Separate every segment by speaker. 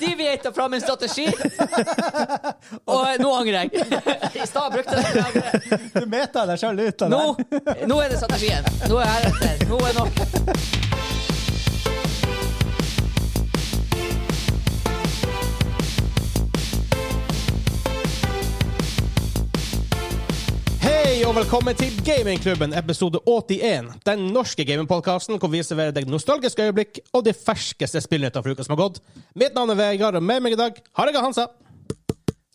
Speaker 1: De vieta fram en strategi, og nå angrer jeg. I stad brukte jeg den. jeg angrer.
Speaker 2: Du meta deg sjøl ut av
Speaker 1: Nå,
Speaker 2: det.
Speaker 1: nå er det strategien. Nå er jeg heretter. Nå er nok.
Speaker 3: Hei og velkommen til Gamingklubben, episode 81. Den norske gamingpodkasten hvor vi serverer deg nostalgiske øyeblikk og de ferskeste spillnyheter fra uka som har gått. Mitt navn er Vegard, og med meg i dag har jeg Hansa.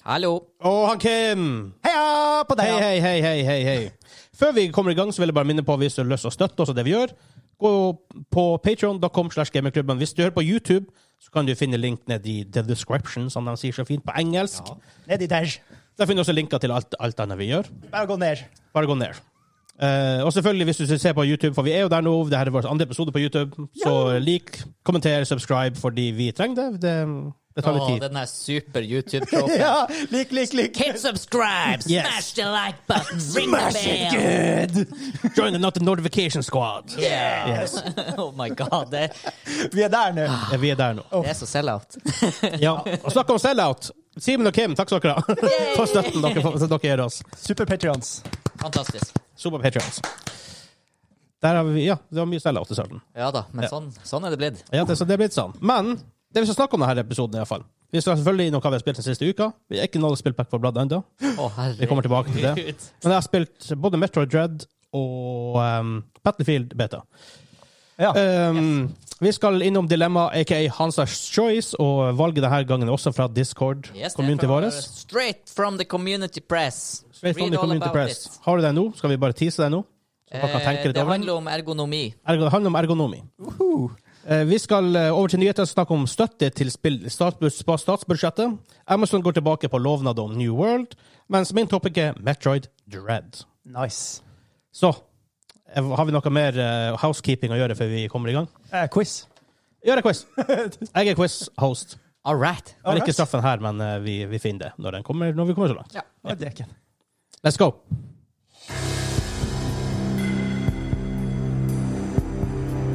Speaker 1: Hallo.
Speaker 3: Og han Kim.
Speaker 2: Heia på deg!
Speaker 3: Hei, hei, hei, hei, hei, hei. Før vi kommer i gang, så vil jeg bare minne på hvis du har lyst til å støtte oss og det vi gjør. Gå på patreon.com slash gamingklubben. Hvis du hører på YouTube, så kan du finne link ned i the description, som de sier så fint på engelsk.
Speaker 2: Ned i der.
Speaker 3: Der finner du også linker til alt, alt annet vi gjør.
Speaker 2: Bare gå ned.
Speaker 3: Bare gå ned. Eh, og selvfølgelig, hvis du ser på YouTube, for vi er jo der nå, det her er vår andre episode på YouTube, så lik, kommenter, subscribe fordi vi trenger det. Det, det
Speaker 1: Å,
Speaker 3: tar litt tid.
Speaker 1: den der super YouTube-kroppen.
Speaker 2: Ja, lik, lik, lik.
Speaker 1: Hit subscribe,
Speaker 3: Yes.
Speaker 1: smash the like button, ring the bell.
Speaker 3: Join the not the notification squad.
Speaker 1: Yeah.
Speaker 3: Yes.
Speaker 1: Oh my god, det,
Speaker 2: Vi er der nå.
Speaker 3: Eh, Vi er der nå.
Speaker 1: det er så sell-out.
Speaker 3: Ja. Og snakk om sell-out. Simen og Kim, takk skal dere ha for støtten dere, for, dere gir oss.
Speaker 2: Super Patrions.
Speaker 1: Fantastisk.
Speaker 3: Super Patreons. Der har vi, ja, det var mye sell-out i starten.
Speaker 1: Ja da, men sånn, sånn er det blitt.
Speaker 3: Ja, det, så det er blitt sånn. Men det vi skal snakke om denne episoden, i hvert fall. Vi skal selvfølgelig innom hva vi har spilt den siste uka. Vi er ikke noe spillpack for bladet ennå.
Speaker 1: Å, herregud.
Speaker 3: Vi kommer tilbake til det. Men jeg har spilt både Metro Dread og um, Battlefield Beta.
Speaker 2: Ja.
Speaker 3: Um, Vi skal innom dilemma, aka Hansas Choice, og valget denne gangen også fra Discord.
Speaker 1: Yes, det er
Speaker 3: community
Speaker 1: fra-
Speaker 3: vår.
Speaker 1: Straight from the community press.
Speaker 3: Straight from
Speaker 1: Read
Speaker 3: the
Speaker 1: all
Speaker 3: community
Speaker 1: about
Speaker 3: press.
Speaker 1: it.
Speaker 3: Har du den nå? Skal vi bare tease den nå? Så folk kan
Speaker 1: Eh,
Speaker 3: tenke litt
Speaker 1: det
Speaker 3: over den?
Speaker 1: handler om ergonomi.
Speaker 3: Ergo- Det handler om ergonomi. Eh, Vi skal eh, over til nyheter og snakke om støtte til spill- statsbud- på statsbudsjettet. Amazon går tilbake på lovnad om New World, mens min topic er Metroid Dread.
Speaker 2: Nice.
Speaker 3: Så eh, har vi noe mer eh, housekeeping å gjøre før vi kommer i gang?
Speaker 2: Eh, quiz.
Speaker 3: Gjør en quiz! Jeg er quiz-host.
Speaker 1: All right.
Speaker 3: Det er
Speaker 2: Alright.
Speaker 3: ikke straffen her, men eh, vi, vi finner det når, den kommer, når vi kommer så langt.
Speaker 1: Ja.
Speaker 2: Å, deken.
Speaker 3: Let's go!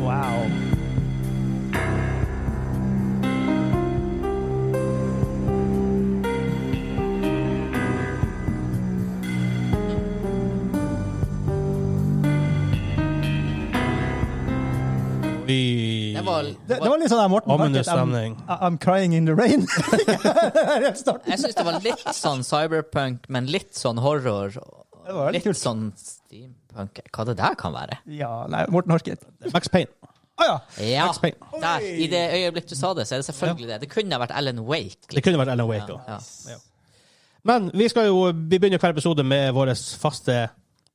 Speaker 2: Wow.
Speaker 3: Vi...
Speaker 1: Det var,
Speaker 2: Det, det var litt sånn der Morten
Speaker 3: Ominous
Speaker 2: Harket,
Speaker 3: stemning.
Speaker 2: I'm, I'm crying in the rain. Helt starten.
Speaker 1: jeg syns det var litt sånn cyberpunk, men litt sånn horror.
Speaker 2: Det
Speaker 1: og
Speaker 2: var litt
Speaker 1: Litt
Speaker 2: kult.
Speaker 1: sånn steampunk. Hva det der kan være?
Speaker 2: Ja, nei, Morten Harket.
Speaker 3: Max Payne.
Speaker 2: Å ja.
Speaker 1: Ja,
Speaker 3: Max Payne.
Speaker 1: der, I det øyeblikk du sa det, så er det selvfølgelig det. Det kunne ha vært Ellen Wake. liksom.
Speaker 3: Det kunne vært Ellen Wake også.
Speaker 1: Ja.
Speaker 3: Men vi skal jo vi begynner hver episode med vår faste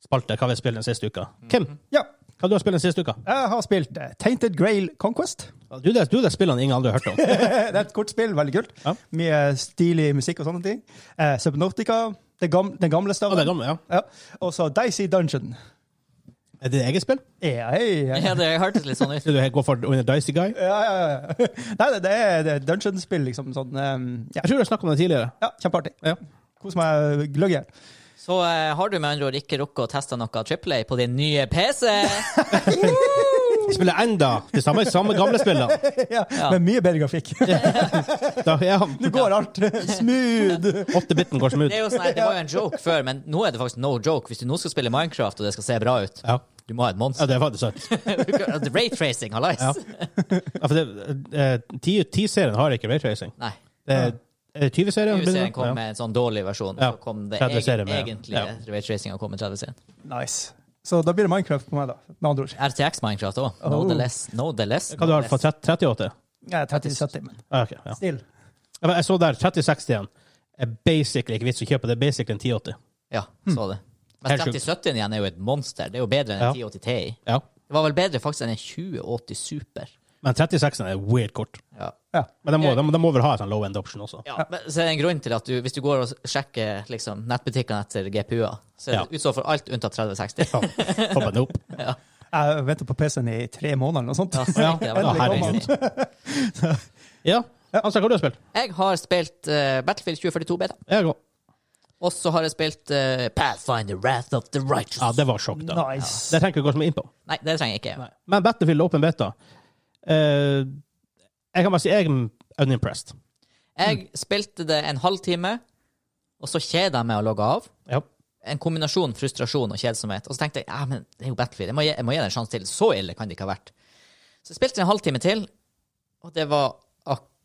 Speaker 3: spalte, hva vi har spilt den siste uka. Kim,
Speaker 2: Ja,
Speaker 3: hva du har spilt den siste uka?
Speaker 2: jeg har spilt eh, Tainted Grail Conquest.
Speaker 3: Du det, du, det spillene ingen andre har hørt om.
Speaker 2: Det er et kortspill, veldig kult.
Speaker 3: Ja.
Speaker 2: Mye stilig musikk og sånne ting. Eh, Subnautica, det gamle, den gamle
Speaker 3: Og det er
Speaker 2: staven.
Speaker 3: gamle, ja.
Speaker 2: Ja. Og så Dicey Dungeon.
Speaker 3: Er det eget spill?
Speaker 2: Ja, hei, hei.
Speaker 1: Ja, det hørtes litt sånn ut.
Speaker 3: Skal du gå for Under Dicey Guy?
Speaker 2: Ja, ja, ja. Nei, det, det er det er dungeon-spill, liksom. Sånn, eh, ja.
Speaker 3: Jeg tror jeg snakket om det tidligere.
Speaker 2: ja, kjempeartig.
Speaker 3: Ja.
Speaker 2: Kos meg gløgg her.
Speaker 1: Så eh, har du med andre ord ikke rukket å teste noe Triple A på din nye PC?
Speaker 3: Vi spiller enda de samme, samme gamle spillene.
Speaker 2: ja, Men mye bedre grafikk.
Speaker 3: Da, ja.
Speaker 2: Nå går alt smooth!
Speaker 3: 8-biten går som ut.
Speaker 1: Det, er jo sånn, her, det var jo en joke før, men nå er det faktisk no joke. Hvis du nå skal spille Minecraft og det skal se bra ut,
Speaker 3: Ja.
Speaker 1: du må ha et
Speaker 3: ja,
Speaker 1: monster.
Speaker 3: det er faktisk sant.
Speaker 1: Raytracing, hallais!
Speaker 3: Ja. Ja, for det, eh, 10 10-serien har ikke raytracing.
Speaker 1: Nei.
Speaker 3: Det er- er det 20-serien?
Speaker 1: UC-en kom med en sånn dårlig versjon.
Speaker 3: Ja.
Speaker 1: Så kom det
Speaker 3: Tredje
Speaker 1: egen,
Speaker 3: serie med, ja.
Speaker 1: egentlige raytracinga kom i 30 serien.
Speaker 2: Nice. Så da blir det Minecraft på meg, da. Med andre ord.
Speaker 1: RTX Minecraft òg. No
Speaker 2: Oh.
Speaker 1: the less, no the less.
Speaker 3: Hva du har for 38?
Speaker 2: Jeg er 30-70, men
Speaker 3: Ah, ok, ja.
Speaker 2: still.
Speaker 3: Jeg jeg så der 3060 er basically ikke vits å kjøpe, det er basically en 1080.
Speaker 1: Ja, så det. Men
Speaker 3: Hm. Helt sjukt.
Speaker 1: 3070 igjen er jo et monster. Det er jo bedre enn
Speaker 3: Ja.
Speaker 1: en 1080 Ti.
Speaker 3: Ja.
Speaker 1: Det var vel bedre faktisk enn en 2080 Super.
Speaker 3: Men 3060 er weird kort.
Speaker 1: Ja.
Speaker 2: Ja.
Speaker 3: Men de må, de, de må vel ha en sånn low end option også.
Speaker 1: Ja, men så er det en grunn til at du, hvis du går og sjekker liksom, nettbutikkene etter GPU-er, så er det utsolgt for alt unntatt 3060.
Speaker 3: Ja. Får bare den opp.
Speaker 2: Jeg venter på PC-en i tre måneder eller noe sånt.
Speaker 1: Ja, så
Speaker 3: Ja,
Speaker 1: gikk det vel.
Speaker 3: ja, herregud. Ja. Altså, hva har du spilt?
Speaker 1: Jeg har spilt eh, Battlefield 2042 beta,
Speaker 3: Jeg òg.
Speaker 1: og så har jeg spilt eh, Pathfinder Wrath of the Righteous.
Speaker 3: Ja, det var sjokk, da.
Speaker 2: Nice.
Speaker 3: Det trenger vi ikke gå så mye inn på.
Speaker 1: Nei, det trenger jeg ikke.
Speaker 3: Men Battlefield Open Beta eh, Jeg kan bare si jeg, Unimpressed.
Speaker 1: Jeg spilte det en halvtime, og så kjeda jeg meg og logga av.
Speaker 3: Ja.
Speaker 1: En kombinasjon frustrasjon og kjedsomhet. Og så tenkte jeg ja, men det er jo Battlefield, jeg må, gi- jeg må gi det en sjanse til. Så ille kan det ikke ha vært. Så jeg spilte en halvtime til, og det var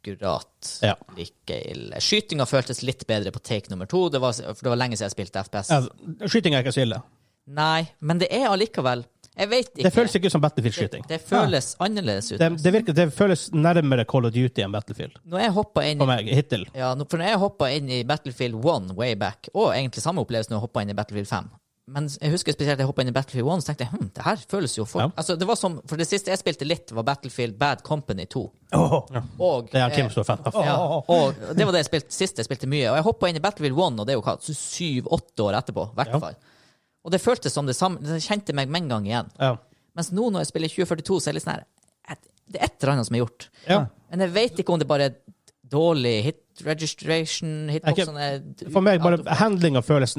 Speaker 1: akkurat
Speaker 3: Ja.
Speaker 1: like ille. Skytinga føltes litt bedre på take nummer to, det var, for det var lenge siden jeg spilte FPS.
Speaker 3: Ja, altså. Skyting er ikke så ille.
Speaker 1: Nei, men det er allikevel Jeg vet ikke.
Speaker 3: Det føles ikke som Battlefield-skyting.
Speaker 1: Det, det føles annerledes ut.
Speaker 3: Det, det, virker- det føles nærmere Call of Duty enn Battlefield.
Speaker 1: Når jeg hoppa inn
Speaker 3: For
Speaker 1: i
Speaker 3: meg, hittil.
Speaker 1: Ja, nå- for når jeg hoppa inn i Battlefield 1 way back, og egentlig samme opplevelse når jeg hoppa inn i Battlefield 5 Men jeg husker spesielt jeg hoppa inn i Battlefield 1, så tenkte jeg hm, det her føles jo for
Speaker 3: Ja.
Speaker 1: Altså, det var som For det siste jeg spilte litt, var Battlefield Bad Company 2.
Speaker 2: Åh.
Speaker 1: Og
Speaker 3: Det er
Speaker 1: eh,
Speaker 3: Kim stor fan av.
Speaker 1: ja, og det var det jeg spilte sist jeg spilte mye. Og jeg hoppa inn i Battlefield 1, og det er jo hva, syv-åtte år etterpå, i hvert
Speaker 3: Ja.
Speaker 1: fall. Og det føltes som det samme. Det kjente meg med en gang igjen.
Speaker 3: Ja.
Speaker 1: Mens nå når jeg spiller 2042, så er det litt sånn her et- Det er et eller annet som er gjort.
Speaker 3: Ja.
Speaker 1: Men jeg vet ikke om det bare er dårlig hit registration sånn hitboxen er
Speaker 3: For meg, bare handlinga føles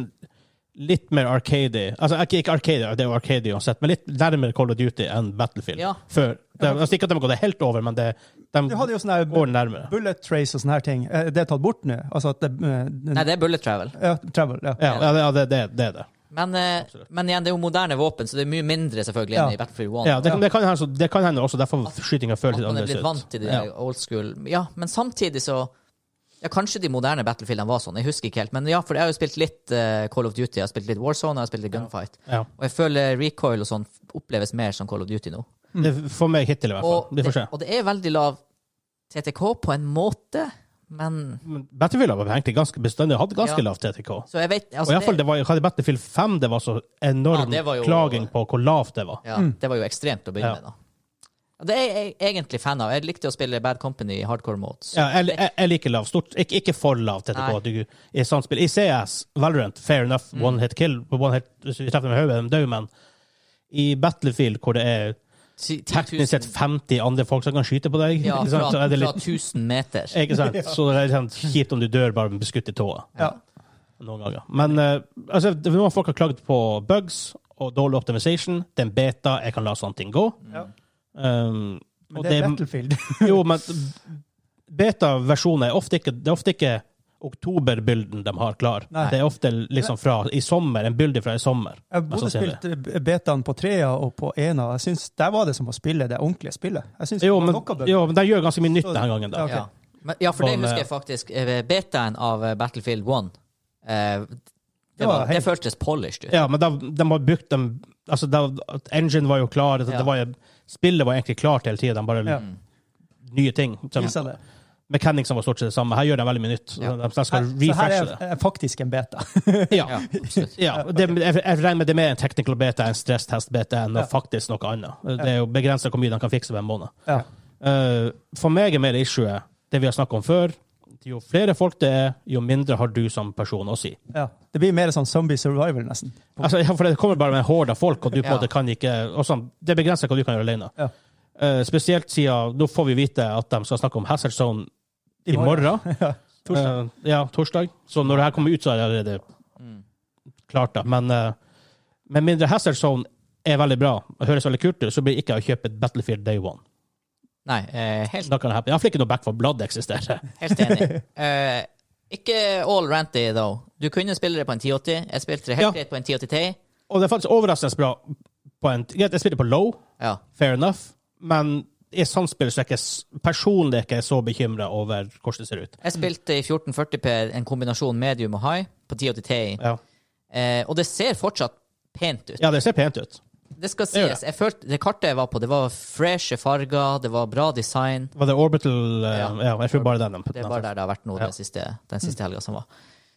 Speaker 3: litt mer arcady. Altså ikke, ikke arcady, det er jo arcady uansett, men litt nærmere Call of Duty enn Battlefield.
Speaker 1: Ja.
Speaker 3: Før. Det, altså ikke at de har gått det helt over, men det,
Speaker 2: Du
Speaker 3: de
Speaker 2: hadde jo sånn her
Speaker 3: går nærmere.
Speaker 2: bullet trace og sånne her ting. Eh, Det er tatt bort nå. Altså at det, eh,
Speaker 1: Nei, det er bullet travel.
Speaker 2: ja, travel, ja.
Speaker 3: Ja, ja, det, ja, det, det, det er det.
Speaker 1: Men, eh, men igjen, det er jo moderne våpen, så det er mye mindre selvfølgelig enn
Speaker 2: Ja.
Speaker 1: i Battlefield 1.
Speaker 3: Ja, det, det, kan, hende- så det kan hende også derfor skytinga
Speaker 1: at
Speaker 3: føles litt
Speaker 1: man er blitt
Speaker 3: annerledes
Speaker 1: vant
Speaker 3: ut.
Speaker 1: til det
Speaker 3: Ja.
Speaker 1: old school. Ja, men samtidig så ja, Kanskje de moderne battlefieldene var sånn, jeg husker ikke helt. Men ja, for jeg har jo spilt litt eh, Call of Duty, jeg har spilt litt Warzone, jeg har spilt litt Gunfight.
Speaker 3: Ja.
Speaker 1: Og jeg føler recoil og sånn oppleves mer som Call of Duty nå.
Speaker 3: Det, for meg hittil, i hvert fall.
Speaker 1: Og
Speaker 3: Vi
Speaker 1: det,
Speaker 3: får se.
Speaker 1: og det er veldig lav TTK på en måte, men
Speaker 3: Men Battlefield har egentlig ganske bestandig hatt ganske
Speaker 1: Ja.
Speaker 3: lav TTK.
Speaker 1: Så jeg vet
Speaker 3: Og
Speaker 1: altså,
Speaker 3: i hvert fall, det var, hadde Battlefield 5 det var så enorm
Speaker 1: Ja, det var jo-
Speaker 3: klaging på hvor lavt det var. Mm.
Speaker 1: Ja, det var jo ekstremt å begynne
Speaker 3: Ja.
Speaker 1: med, da. Og Det er jeg egentlig fan av. Jeg likte å spille Bad Company i hardcore modes.
Speaker 3: Ja, jeg, jeg, jeg liker lav. Stort, ikke, ikke for lav TTK.
Speaker 1: Nei. Mm.
Speaker 3: at du- I samspill. I CS, Valorant, fair enough, one hit kill. One hit, hvis vi treffer med hodet, de dør, men i Battlefield, hvor det er
Speaker 1: Ti- 10 000
Speaker 3: teknisk sett 50 andre folk som kan skyte på deg,
Speaker 1: ja, fra,
Speaker 3: ikke sant? så er det
Speaker 1: fra
Speaker 3: litt
Speaker 1: 1000 meter.
Speaker 3: ikke sant? Så det er litt sånn kjipt om du dør bare med beskutt i tåa.
Speaker 2: Ja.
Speaker 3: Noen ganger. Men eh, altså, det- noen folk har klagd på bugs og dårlig optimization. Det er en beta, jeg kan la sånne ting gå.
Speaker 2: Ja.
Speaker 3: Um,
Speaker 2: Men
Speaker 3: og
Speaker 2: det er Battlefield.
Speaker 3: jo, men beta-versjoner er ofte ikke, det er ofte ikke oktober-bilden de har klar.
Speaker 2: Nei.
Speaker 3: Det er ofte liksom fra i sommer, en bilde fra i sommer.
Speaker 2: Jeg både
Speaker 3: mest sannsynlig.
Speaker 2: spilte betaen på trea og på ena. Jeg synes Der var det som å spille det ordentlige spillet. Jeg synes
Speaker 3: Jo,
Speaker 2: det var
Speaker 3: men,
Speaker 2: nok av bøker.
Speaker 3: jo, men de gjør ganske mye nytt denne gangen. da.
Speaker 2: ok.
Speaker 1: Ja. Men, ja, for det
Speaker 3: Sånn,
Speaker 1: husker
Speaker 3: eh,
Speaker 1: jeg faktisk. eh, Betaen av eh, Battlefield 1 eh, det,
Speaker 2: var
Speaker 1: var, det
Speaker 2: helt-
Speaker 1: føltes polished ut.
Speaker 3: Ja, men da, de har brukt dem altså da, at Engine var jo klar, det,
Speaker 1: Ja.
Speaker 3: det var jo, spillet var egentlig klart hele tida. De bare
Speaker 2: Ja.
Speaker 1: Mm.
Speaker 3: nye ting.
Speaker 2: Viser
Speaker 3: Som,
Speaker 2: det.
Speaker 3: mechanics var stort sett det samme. Her gjør de veldig mye nytt.
Speaker 1: Ja.
Speaker 3: De, de skal
Speaker 2: Så her
Speaker 3: refreshe
Speaker 2: er
Speaker 3: det.
Speaker 2: er faktisk en beta.
Speaker 3: Ja.
Speaker 1: Ja, absolutt.
Speaker 3: Ja, og det, jeg, jeg regner med det er mer en technical beta enn stresstest beta enn noe
Speaker 2: Ja.
Speaker 3: faktisk noe annet. Det er jo begrensa hvor mye de kan fikse på en måned.
Speaker 2: Ja.
Speaker 3: Eh, for meg er mer issue det vi har snakket om før. Jo flere folk det er, jo mindre har du som person å si.
Speaker 2: Ja. Det blir mer sånn zombie survival, nesten.
Speaker 3: Altså, ja, for det kommer bare med en horde av folk, og du på en
Speaker 1: Ja.
Speaker 3: måte kan ikke og sånn, Det er begrenset hva du kan gjøre alene.
Speaker 2: Ja.
Speaker 3: Eh, spesielt siden nå får vi vite at de skal snakke om Hazard Zone i
Speaker 2: I morgen.
Speaker 3: morgen.
Speaker 2: Ja. Torsdag.
Speaker 3: Eh, ja, torsdag. Så når det her kommer ut, så er det allerede
Speaker 2: Mm.
Speaker 3: klart, da. Men eh, med mindre Hazard Zone er veldig bra og høres veldig kult ut, så blir det ikke å kjøpe et Battlefield Day One.
Speaker 1: Nei, eh, helt,
Speaker 3: Da kan det happen. Iallfall ikke noe Back for Blood eksisterer.
Speaker 1: helt enig. Eh, ikke all ranty, though. Du kunne spille det på en 1080. Jeg spilte det helt
Speaker 3: Ja.
Speaker 1: greit på en 1080T.
Speaker 3: Og det er faktisk overraskende bra på en Greit, jeg spiller på low,
Speaker 1: Ja.
Speaker 3: fair enough, men i samspill så er jeg ikke s- personlig ikke så bekymra over hvordan det ser ut.
Speaker 1: Jeg spilte i 1440P en kombinasjon medium og high på 1080T.
Speaker 3: Ja,
Speaker 1: Eh, og det ser fortsatt pent ut.
Speaker 3: ja det ser pent ut.
Speaker 1: Det skal
Speaker 3: Det gjør
Speaker 1: sies. Jeg følte, det kartet jeg var på, det var freshe farger, det var bra design.
Speaker 3: Var det Orbital eh,
Speaker 1: Ja.
Speaker 3: Ja, jeg tror bare den.
Speaker 1: Det er bare der det har vært nå
Speaker 3: Ja. Mm.
Speaker 1: den siste, den siste helga som var.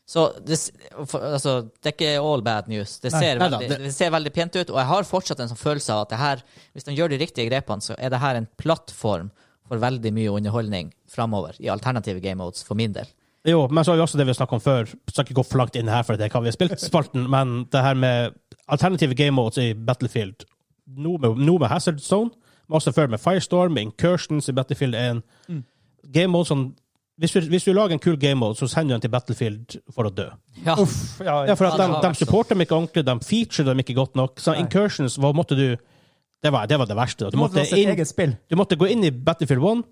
Speaker 1: Så det, s- for, altså, det er ikke all bad news. Det ser,
Speaker 3: Nei da,
Speaker 1: veldig,
Speaker 3: det-
Speaker 1: det ser veldig pent ut, og jeg har fortsatt en sånn følelse av at det her, hvis de gjør de riktige grepene, så er det her en plattform for veldig mye underholdning framover i alternative game modes, for min del.
Speaker 3: Jo, men så har vi også det vi snakket om før. Jeg Skal ikke gå for langt inn her, for det er hva vi har spilt spalten, men det her med alternative game modes i Battlefield, nå med, nå med Hazard Zone, men også før med Firestorm, Incursions i Battlefield 1.
Speaker 1: Mm.
Speaker 3: Game mode som hvis du, hvis du lager en kul game mode, så sender du den til Battlefield for å dø.
Speaker 1: Ja.
Speaker 2: Ja,
Speaker 3: Ja, for
Speaker 1: Ja,
Speaker 3: at
Speaker 1: det
Speaker 3: de,
Speaker 1: har
Speaker 3: de
Speaker 1: vært
Speaker 3: supporter dem ikke ordentlig, de featurer dem ikke godt nok. Så
Speaker 2: Nei.
Speaker 3: Incursions, hva måtte du Det var det, var det verste. da.
Speaker 2: Du
Speaker 3: Du
Speaker 2: måtte
Speaker 3: måtte,
Speaker 2: ha sitt
Speaker 3: inn,
Speaker 2: eget spill.
Speaker 3: du måtte gå inn i Battlefield 1,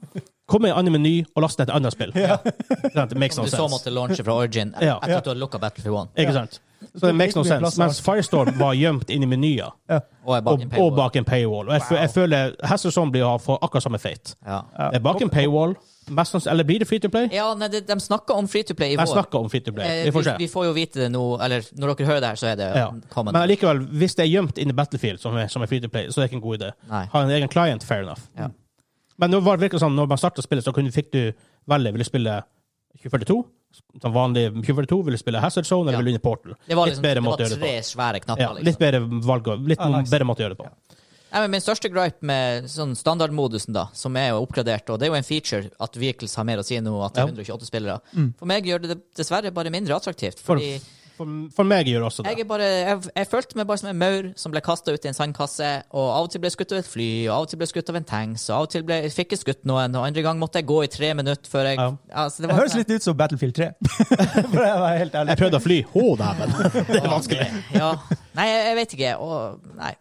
Speaker 3: Kom med en annen meny og last ned et annet spill. Sant? It makes
Speaker 1: Om du
Speaker 3: no
Speaker 1: så
Speaker 3: sense.
Speaker 1: måtte launche fra Origin et-
Speaker 3: Ja.
Speaker 1: etter at du hadde lukka Battlefield 1
Speaker 3: Ikke sant? Så det makes no
Speaker 2: Ikke mye plass
Speaker 3: sense. Mens Firestorm var gjemt inni menyer.
Speaker 1: og er bak
Speaker 3: Og,
Speaker 1: en
Speaker 3: og
Speaker 1: paywall.
Speaker 3: bak en paywall. Og jeg, fø- jeg føler Hasselson blir å få akkurat samme fate.
Speaker 1: Ja.
Speaker 3: Det er bak en paywall. Mest sanns- eller blir det free to play?
Speaker 1: ja, nei, de, de snakka om free to play i
Speaker 3: Jeg
Speaker 1: vår.
Speaker 3: snakker om free to play.
Speaker 1: Eh,
Speaker 3: Vi
Speaker 1: vi,
Speaker 3: får se.
Speaker 1: vi får jo vite det nå, eller når dere hører det her, så er det
Speaker 3: Ja.
Speaker 1: common.
Speaker 3: Men allikevel, hvis det er gjemt inni Battlefield, som er, som er free to play, så er det ikke en god idé.
Speaker 1: Nei.
Speaker 3: Ha en egen client, fair enough.
Speaker 1: Ja.
Speaker 3: Men nå var det virkelig sånn, når man startet spillet, så kunne, fikk du velge Vil du spille 2042, som vanlig 2042, vil du spille Hazard Zone, eller
Speaker 1: Ja.
Speaker 3: vil du inn i Portal?
Speaker 1: Det var,
Speaker 3: litt
Speaker 1: liksom,
Speaker 3: bedre
Speaker 1: det
Speaker 3: måte å
Speaker 1: var
Speaker 3: gjøre det
Speaker 1: tre
Speaker 3: på.
Speaker 1: svære
Speaker 3: Ja,
Speaker 1: knapper. liksom.
Speaker 3: litt bedre valg, og litt
Speaker 2: Ah, nice.
Speaker 3: bedre måte å gjøre det på.
Speaker 1: Nei, men min største gripe med sånn standardmodusen, da, som er jo oppgradert, og det er jo en feature at Vehicles har mer å si nå, at det er 128 spillere,
Speaker 3: Mm.
Speaker 1: for meg gjør det det dessverre bare mindre attraktivt.
Speaker 3: For,
Speaker 1: Fordi
Speaker 3: for, for meg gjør det også det.
Speaker 1: jeg, er bare, jeg, jeg følte meg bare som en maur som ble kasta ut i en sandkasse, og av og til ble jeg skutt av et fly, og av og til ble jeg skutt av en tanks, og av og til ble, fikk jeg skutt noen, og andre gang måtte jeg gå i tre minutter før jeg
Speaker 3: Ja.
Speaker 1: altså,
Speaker 2: Det
Speaker 1: var
Speaker 2: høres
Speaker 1: sånn-
Speaker 2: litt ut som Battlefield 3. For å være helt ærlig.
Speaker 3: Jeg prøvde å fly. Å, dæven! Det er vanskelig.
Speaker 1: Ja. Nei, jeg, jeg vet ikke. Og, nei,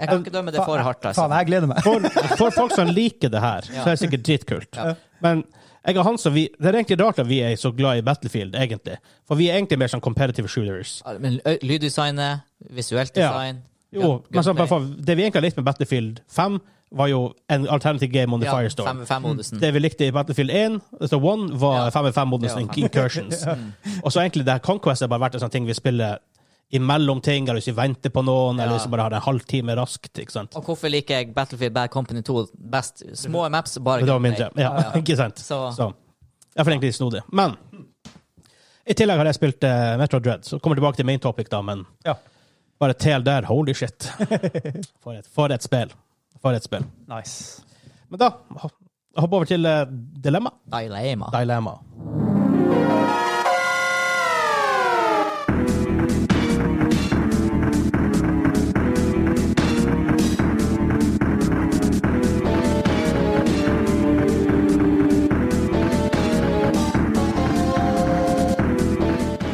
Speaker 1: jeg kan ikke dømme det for hardt, altså.
Speaker 2: Faen, jeg gleder meg.
Speaker 3: For, for folk som liker det her, så er det sikkert dritkult. Men jeg og Hans, og vi, det er egentlig rart at vi er så glad i Battlefield, egentlig. For vi er egentlig mer sånn competitive shooters.
Speaker 1: Ja, Men ø- lyddesignet, visuelt
Speaker 3: Ja.
Speaker 1: design
Speaker 3: Jo,
Speaker 1: gun-
Speaker 3: men så,
Speaker 1: gunplay.
Speaker 3: bare for, det vi egentlig har likt med Battlefield 5, var jo en alternative game on the
Speaker 1: Ja,
Speaker 3: firestorm. Mm.
Speaker 1: 5-5-modusen.
Speaker 3: Det vi likte i Battlefield 1, altså 1, var
Speaker 1: Ja.
Speaker 3: 5-5-modusen
Speaker 1: Ja.
Speaker 3: Incursions. Og så egentlig det her Conquest har bare vært en sånn ting vi spiller imellom ting, eller hvis vi venter på noen, eller
Speaker 1: Ja.
Speaker 3: hvis vi bare har det en halvtime raskt. ikke sant?
Speaker 1: Og hvorfor liker jeg Battlefield Bad Company 2 best? Små maps, bare
Speaker 3: Det var
Speaker 1: gameplay.
Speaker 3: mindre. Ja, ikke sant? Så.
Speaker 1: Så-
Speaker 3: Jeg er egentlig snodig. Men i tillegg har jeg spilt eh, Metro Dread, så kommer jeg tilbake til main topic, da, men
Speaker 2: Ja.
Speaker 3: bare tel der, holy shit. For et, for et spill. For et spill.
Speaker 2: Nice.
Speaker 3: Men da ho- hopp over til eh, dilemma.
Speaker 1: Dilemma.
Speaker 3: Dilemma.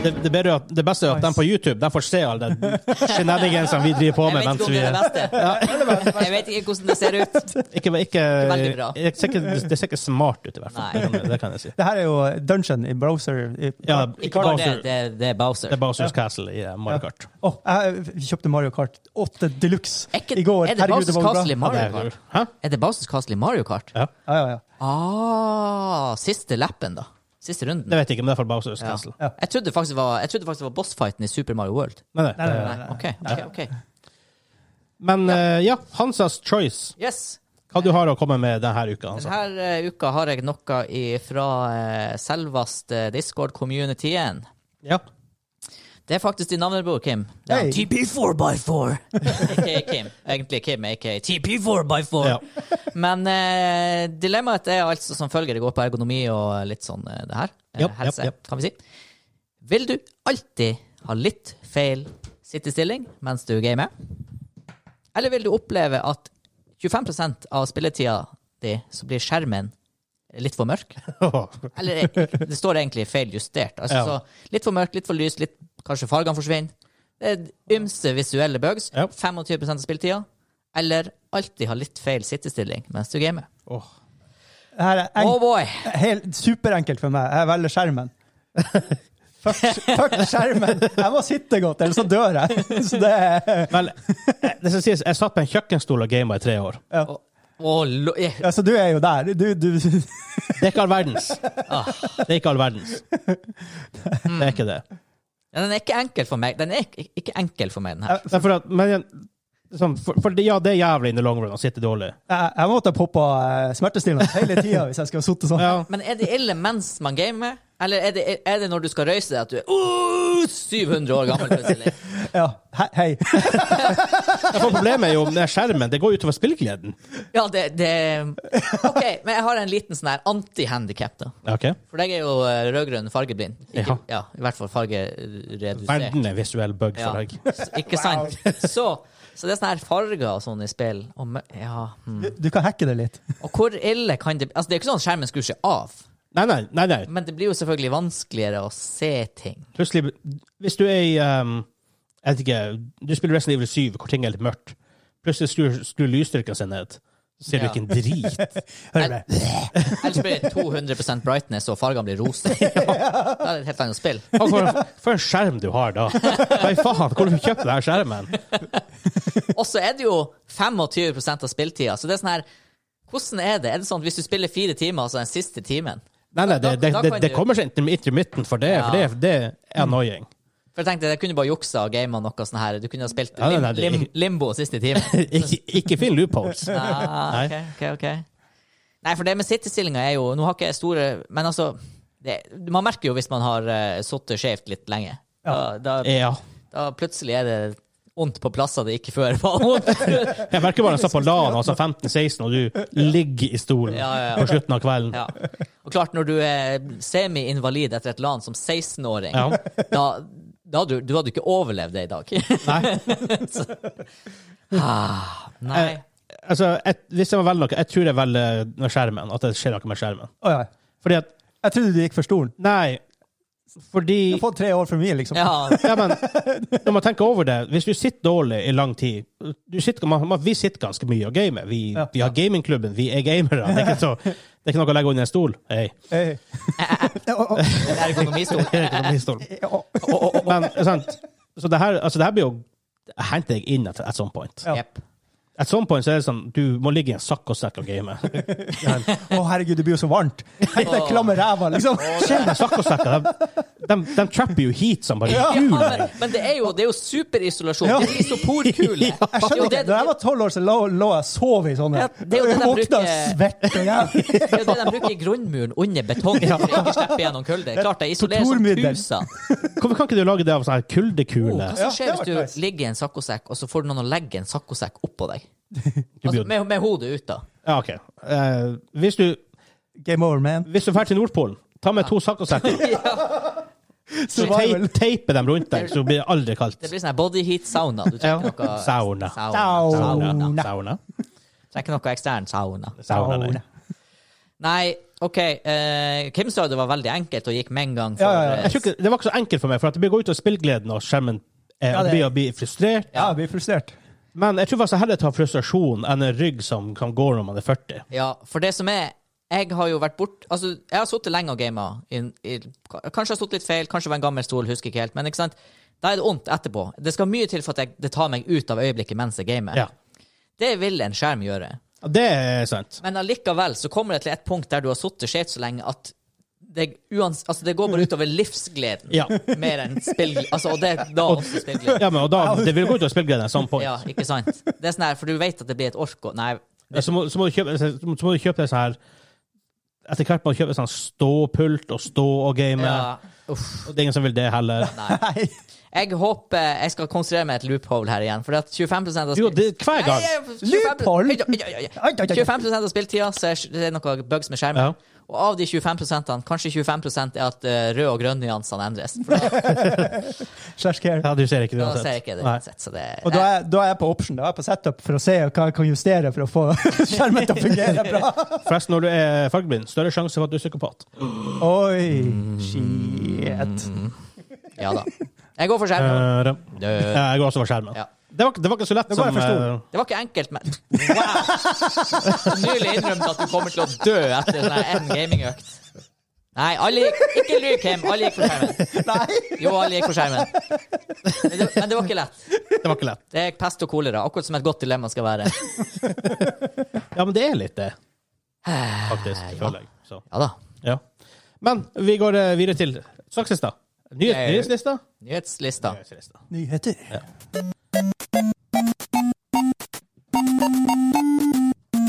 Speaker 3: Det, det, bedre, at- det beste er at de på YouTube de får se alle de shenanigansene vi driver på
Speaker 1: Jeg vet
Speaker 3: med.
Speaker 1: ikke
Speaker 3: mens
Speaker 1: om
Speaker 3: vi
Speaker 1: det
Speaker 3: er-
Speaker 1: er det beste. Jeg vet ikke hvordan det ser ut.
Speaker 3: ikke, ikke,
Speaker 1: veldig bra.
Speaker 3: Det ser ikke, det ser ikke smart ut, i hvert fall.
Speaker 1: Nei.
Speaker 3: Det kan- Det kan jeg si.
Speaker 2: Det her er jo dungeon i browser. I,
Speaker 3: Ja,
Speaker 1: Ikke bare det,
Speaker 3: Bowser-
Speaker 1: det, det er Bowser.
Speaker 3: Det er Bowsers Castle i eh, Mario Kart.
Speaker 2: Åh, jeg kjøpte Mario Kart 8 Deluxe
Speaker 1: Er, ikke,
Speaker 2: i går.
Speaker 1: er det Bowsers Castle i
Speaker 3: Ja, det
Speaker 1: Mario
Speaker 3: er-
Speaker 1: Kart?
Speaker 3: Hæ?
Speaker 1: Er det Bowsers Castle i Mario Kart?
Speaker 3: Ja.
Speaker 2: Ja, ja, ja.
Speaker 1: Ah, siste lappen, da. Siste runden.
Speaker 3: Det vet jeg ikke, men det er fra Bowsers
Speaker 1: Ja.
Speaker 3: Castle.
Speaker 2: Ja.
Speaker 1: Jeg trodde faktisk det var, jeg trodde faktisk det var bossfighten i Super Mario World.
Speaker 3: Nei, nei.
Speaker 2: Nei, nei, nei,
Speaker 1: Nei,
Speaker 2: nei.
Speaker 1: OK. ok, ok.
Speaker 3: Men eh, ja, Hansas Choice.
Speaker 1: Yes.
Speaker 3: Hva du har å komme med denne uka? Hansa?
Speaker 1: Denne eh, uka har jeg noe fra selveste Discord-communityen.
Speaker 3: Ja.
Speaker 1: Det er faktisk din navnebok, Kim. Det er
Speaker 2: Hei.
Speaker 1: TP4x4. Ikke Kim. Egentlig Kim, ikke TP4x4.
Speaker 3: Ja.
Speaker 1: Men eh, dilemmaet er altså som følger. Det går på ergonomi og litt sånn eh, det her. Eh,
Speaker 3: Japp, japp,
Speaker 1: helse,
Speaker 3: japp.
Speaker 1: kan vi si. Vil du alltid ha litt feil sittestilling mens du gamer? Eller vil du oppleve at 25 av spilletida di så blir skjermen litt for mørk? Eller eh, det står egentlig feil justert. Altså,
Speaker 3: Ja.
Speaker 1: så litt for mørkt, litt for lyst, litt, kanskje fargene forsvinner. Det er ymse visuelle bugs.
Speaker 3: Ja.
Speaker 1: 25 av spilletida. Eller alltid ha litt feil sittestilling mens du gamer.
Speaker 3: Åh.
Speaker 2: Det her er
Speaker 1: Oh
Speaker 2: enk,
Speaker 1: boy!
Speaker 2: helt superenkelt for meg. Jeg velger skjermen. Fuck, fuck skjermen! Jeg må sitte godt, ellers så dør jeg. Så det er,
Speaker 3: Vel, eh, det skal sies, jeg satt på en kjøkkenstol og gama i tre år.
Speaker 2: ja.
Speaker 1: Å, å, lo- eh,
Speaker 2: Ja, så du er jo der. Du, du,
Speaker 3: Det er ikke all verdens. Det er ikke all verdens. Det er ikke det.
Speaker 1: Den er ikke enkel for meg. Den er ikke, ikke enkel for meg, den her.
Speaker 3: Det er for at, men jeg- sånn, for, for det- ja, det er jævlig in the long run å sitte dårlig.
Speaker 2: jeg, jeg måtte poppe eh, smertestillende hele tida hvis jeg skulle sitte sånn.
Speaker 3: Ja.
Speaker 1: Men er det ille mens man gamer? Eller er det, er det når du skal røyse deg, at du er «Åh, 700 år gammel plutselig?
Speaker 2: Ja, he- hei.
Speaker 3: Ja, for Problemet er jo med skjermen. Det går utover spillgleden.
Speaker 1: Ja, det, det OK, men jeg har en liten sånn her anti-handicap, da.
Speaker 3: Ok.
Speaker 1: For deg er jo eh, rød-grønn fargeblind. Ikke, ja. I hvert fall fargeredusert.
Speaker 3: Verden er visuell bug
Speaker 1: Ja.
Speaker 3: for deg.
Speaker 1: S- Ikke sant? Så, så det er sånne her farger og sånn i spill. Og, mø- ja. hm.
Speaker 2: Du, du kan hacke det litt.
Speaker 1: og hvor ille kan det bli? Altså, det er jo ikke sånn at skjermen skrur seg av,
Speaker 3: Nei, nei, nei, nei.
Speaker 1: men det blir jo selvfølgelig vanskeligere å se ting.
Speaker 3: Plutselig, hvis du er i um, Jeg vet ikke, du spiller Resident Evil 7, hvor ting er litt mørkt. Plutselig skrur skrur lysstyrken seg ned. Ser du
Speaker 1: Ja.
Speaker 3: ikke en drit?
Speaker 2: Hører du det?
Speaker 1: Ellers blir det 200 brightness, og fargene blir rosa. Da er det et helt annet spill.
Speaker 3: Faen, For, for en skjerm du har, da. Nei, faen, hvor har du kjøpt denne skjermen?
Speaker 1: Og så er det jo 25 av spilltida, så det er sånn her Hvordan er det? Er det sånn at hvis du spiller fire timer, altså den siste timen
Speaker 3: Nei, nei, det,
Speaker 1: Da-
Speaker 3: det,
Speaker 1: da
Speaker 3: det,
Speaker 1: kan
Speaker 3: det
Speaker 1: du-
Speaker 3: kommer seg inn til intermitten for det, for det, det er annoying.
Speaker 1: For jeg tenkte jeg kunne bare juksa og gama noe sånn her. Du kunne ha spilt
Speaker 3: Ja, nei,
Speaker 1: lim,
Speaker 3: nei, det-
Speaker 1: lim, limbo siste time.
Speaker 3: Ikke, ikke finn loopholes.
Speaker 1: Ah, ok, ok, ok. Nei, for det med sittestillinga er jo Nå har ikke jeg store Men altså, det, man merker jo hvis man har uh, sittet skjevt litt lenge. Da, da,
Speaker 3: Ja. Eh.
Speaker 1: da plutselig er det vondt på plasser det ikke før var vondt.
Speaker 3: Jeg merker bare jeg satt på LAN, altså 15-16, og du ligger i stolen
Speaker 1: Ja, ja, ja.
Speaker 3: på slutten av kvelden.
Speaker 1: Ja. Og klart, når du er semi-invalid etter et LAN som 16-åring,
Speaker 3: Ja.
Speaker 1: da, da hadde du, du hadde ikke overlevd det i dag.
Speaker 3: Nei.
Speaker 1: Ah, nei.
Speaker 3: Eh, Altså, jeg, hvis jeg må velge noe, jeg tror jeg velger med skjermen. At det skjer noe med skjermen.
Speaker 2: Å ja.
Speaker 3: Fordi at
Speaker 2: Jeg trodde du gikk for stolen.
Speaker 3: Nei, fordi
Speaker 2: Du har fått tre år for mye, liksom.
Speaker 1: Ja,
Speaker 3: ja, men, Når man tenker over det, hvis du sitter dårlig i lang tid du sitter, man, man, Vi sitter ganske mye og gamer. Vi,
Speaker 2: Ja.
Speaker 3: vi har gamingklubben, vi er gamere. Det er ikke, så, det er ikke noe å legge under en stol. Hey.
Speaker 2: Hey. Å, å,
Speaker 1: en ergonomistol.
Speaker 3: Det er ikke noe stol.
Speaker 2: å, å.
Speaker 3: Men, sant? Så det her, altså, det her blir jo henter jeg inn at at some point.
Speaker 2: Ja.
Speaker 1: Jepp.
Speaker 3: At some point så er det sånn, Du må ligge i en sakkosekk og game.
Speaker 2: Å, herregud, det blir jo så varmt. Tenk deg klamme ræva, liksom.
Speaker 3: Sakkosekker, de, de, de trapper jo heat som bare
Speaker 1: Ja,
Speaker 3: julen.
Speaker 1: men, men det er jo, det er jo superisolasjon.
Speaker 2: Ja.
Speaker 1: Det er isoporkule.
Speaker 2: Jeg skjønner ikke. Da jeg var tolv år, så lå, lå jeg og sov i sånne.
Speaker 1: Ja, det er jo det de
Speaker 2: Våkna
Speaker 1: bruker-
Speaker 2: svett og jævlig.
Speaker 1: Det er jo det de bruker i grunnmuren under betongen for å ikke slippe gjennom kulde. Klart jeg isolerer som
Speaker 2: Torturmiddel.
Speaker 1: tusen.
Speaker 3: Hvorfor kan ikke du lage det av sånn her
Speaker 1: Oh,
Speaker 3: kuldekule?
Speaker 1: hva
Speaker 2: Ja,
Speaker 1: som skjer
Speaker 2: det
Speaker 1: hvis
Speaker 2: var
Speaker 1: du
Speaker 2: nice.
Speaker 1: ligger i en saccosekk, og så får du noen å legge en saccosekk oppå deg?
Speaker 3: Du blir
Speaker 1: Altså,
Speaker 3: jo-
Speaker 1: med, med hodet ut, da.
Speaker 3: Ja, OK. Eh, hvis du
Speaker 2: Game over, man.
Speaker 3: Hvis du drar til Nordpolen, ta med to saccosekker. Så
Speaker 2: Survival.
Speaker 3: tei- teipe dem rundt deg, så blir det aldri kaldt.
Speaker 1: Det blir sånn her body heat sauna. Du
Speaker 3: Ja.
Speaker 1: trenger noe
Speaker 3: Sauna.
Speaker 1: Sauna.
Speaker 2: Sauna.
Speaker 3: Sauna.
Speaker 1: Trenger noe ekstern sauna.
Speaker 3: Sauna, nei.
Speaker 1: Nei, OK. Uh, Kim sa det var veldig enkelt og gikk med en gang. For,
Speaker 2: Ja, ja, ja.
Speaker 1: eh,
Speaker 3: Jeg tror ikke, det var ikke så enkelt for meg, for at det blir gå ut av spillgleden og skjermen. Eh,
Speaker 2: Ja,
Speaker 3: og
Speaker 2: det-
Speaker 3: blir, blir frustrert.
Speaker 2: Ja, jeg blir frustrert.
Speaker 3: Men jeg tror faktisk jeg heller tar frustrasjon enn en rygg som kan gå når man er 40.
Speaker 1: Ja, for det som er Jeg har jo vært bort Altså, jeg har sittet lenge og gama. Kanskje jeg har sittet litt feil, kanskje det var en gammel stol, husker ikke helt. Men ikke sant? da er det vondt etterpå. Det skal mye til for at jeg, det tar meg ut av øyeblikket mens jeg gamer.
Speaker 3: Ja.
Speaker 1: Det vil en skjerm gjøre.
Speaker 3: Det er sant.
Speaker 1: Men allikevel så kommer det til et punkt der du har sittet skjevt så lenge at det, uans, altså det går bare utover livsgleden
Speaker 3: Ja.
Speaker 1: mer enn spill... Altså, og det er da også spillgleden.
Speaker 3: ja, men og da, Det vil gå ut av spillgleden. Sånn point.
Speaker 1: Ja, ikke sant? Det er sånn her, for du vet at det blir et ork og Nei.
Speaker 3: Så, må, så, må du kjøpe, så må- så må du kjøpe deg sånn her Etter hvert må du kjøpe sånn ståpult og stå og game.
Speaker 1: Ja, uff.
Speaker 3: Og det er ingen som vil det heller.
Speaker 2: Nei.
Speaker 1: Jeg håper jeg skal konstruere meg et loophole her igjen. For at 25 av
Speaker 3: Jo,
Speaker 1: spill-
Speaker 3: det, hver gang.
Speaker 1: Nei, jeg- 25
Speaker 2: Loophole!
Speaker 1: Oi, oi, oi, oi.
Speaker 2: Ai, ai, ai.
Speaker 1: 25 av spilltida så er det er noe bugs med skjermen.
Speaker 3: Ja.
Speaker 1: Og av de 25 kanskje 25 er at eh, rød- og grønn-nyansene endres. For da,
Speaker 2: Slash care.
Speaker 3: Ja, du ser ikke det
Speaker 1: da
Speaker 3: uansett.
Speaker 1: ser jeg ikke det
Speaker 3: Nei.
Speaker 1: uansett. Så det,
Speaker 2: Og da er, da er jeg på option, da er jeg på setup for å se hva jeg kan justere for å få skjermen til å fungere bra.
Speaker 3: Forresten, når du er fargeblind, større sjanse for at du er psykopat.
Speaker 2: Oi,
Speaker 3: Mm.
Speaker 2: shit.
Speaker 1: Ja da. Jeg går for skjermen.
Speaker 3: Eh, da-
Speaker 1: Det,
Speaker 3: Eh, jeg går også for skjermen.
Speaker 1: Ja.
Speaker 3: Det, var, det var ikke så lett
Speaker 2: Det var
Speaker 3: som
Speaker 2: jeg forsto.
Speaker 3: eh,
Speaker 1: det var ikke enkelt, men wow! Nylig innrømt at du kommer til å dø etter én gamingøkt. Nei, alle gikk, ikke lyv, Kim. Alle gikk for skjermen.
Speaker 2: Nei,
Speaker 1: Jo, alle gikk for skjermen. Men det, men det var ikke lett.
Speaker 3: Det var ikke lett.
Speaker 1: Det er pest og kolera, akkurat som et godt dilemma skal være.
Speaker 3: Ja, men det er litt det, faktisk.
Speaker 1: ja.
Speaker 3: Føler jeg. Så,
Speaker 1: Ja da.
Speaker 3: ja. Men vi går eh, videre til sakslista. Nyhet,
Speaker 1: Nei.
Speaker 3: nyhetslista?
Speaker 1: Nyhetslista.
Speaker 3: Nyhetslista.
Speaker 2: Nyheter.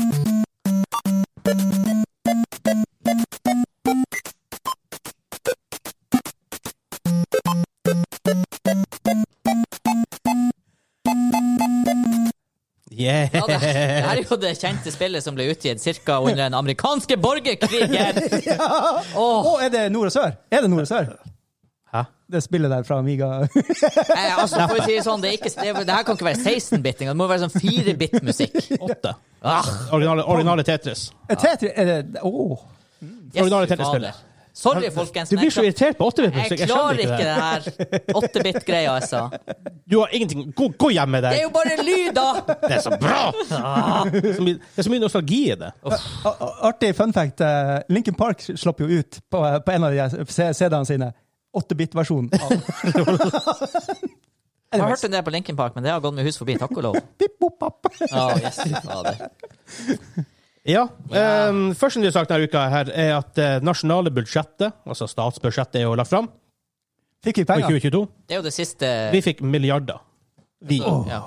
Speaker 3: Yeah.
Speaker 1: Ja, det, det her er jo det kjente spillet som ble utgitt ca. under den amerikanske borgerkrigen. Åh,
Speaker 2: Å, er det nord og sør? Er det nord og sør?
Speaker 3: Hæ?
Speaker 2: Det spillet der fra Amiga.
Speaker 1: eh, altså, for å si det sånn, det, er ikke, det, det her kan ikke være 16-bitting, det må være sånn 4-bit-musikk.
Speaker 3: Åtte.
Speaker 1: Ah,
Speaker 3: Originale, originale Tetris.
Speaker 2: Tetris, er det Å!
Speaker 1: yes,
Speaker 3: Originale
Speaker 1: fy fader.
Speaker 3: Tetris-spillet.
Speaker 1: Sorry, folkens.
Speaker 3: Du
Speaker 1: men
Speaker 3: blir
Speaker 1: jeg
Speaker 3: så irritert på 8-bit
Speaker 1: kla-
Speaker 3: musikk.
Speaker 1: jeg
Speaker 3: Jeg skjønner
Speaker 1: klarer
Speaker 3: ikke
Speaker 1: ikke
Speaker 3: det.
Speaker 1: det her 8-bit-greia, altså.
Speaker 3: Du har ingenting Gå, gå hjem med
Speaker 1: Det er
Speaker 3: deg!
Speaker 1: jo bare lyd, da!
Speaker 3: Det er så bra! Det er så mye, det er så mye nostalgi i det.
Speaker 2: A- a- Artig fun fact. eh, Linkin Park slapp jo ut på, på en av de C- CD-ene sine 8-bit-versjonen. av-
Speaker 1: Jeg har hørt en del på Linkin Park, men det har gått med hus forbi. Takk og lov.
Speaker 2: Pip, pop, pop.
Speaker 1: Ja, yes, fader.
Speaker 3: Ja.
Speaker 1: Ja.
Speaker 3: Um, første nyhetssak denne uka her er at eh, nasjonale budsjettet, altså statsbudsjettet, er jo lagt fram
Speaker 2: Fikk vi
Speaker 3: for
Speaker 2: penger?
Speaker 3: 2022.
Speaker 1: Det er jo det siste
Speaker 3: Vi fikk milliarder. Vi,
Speaker 1: Så, ja.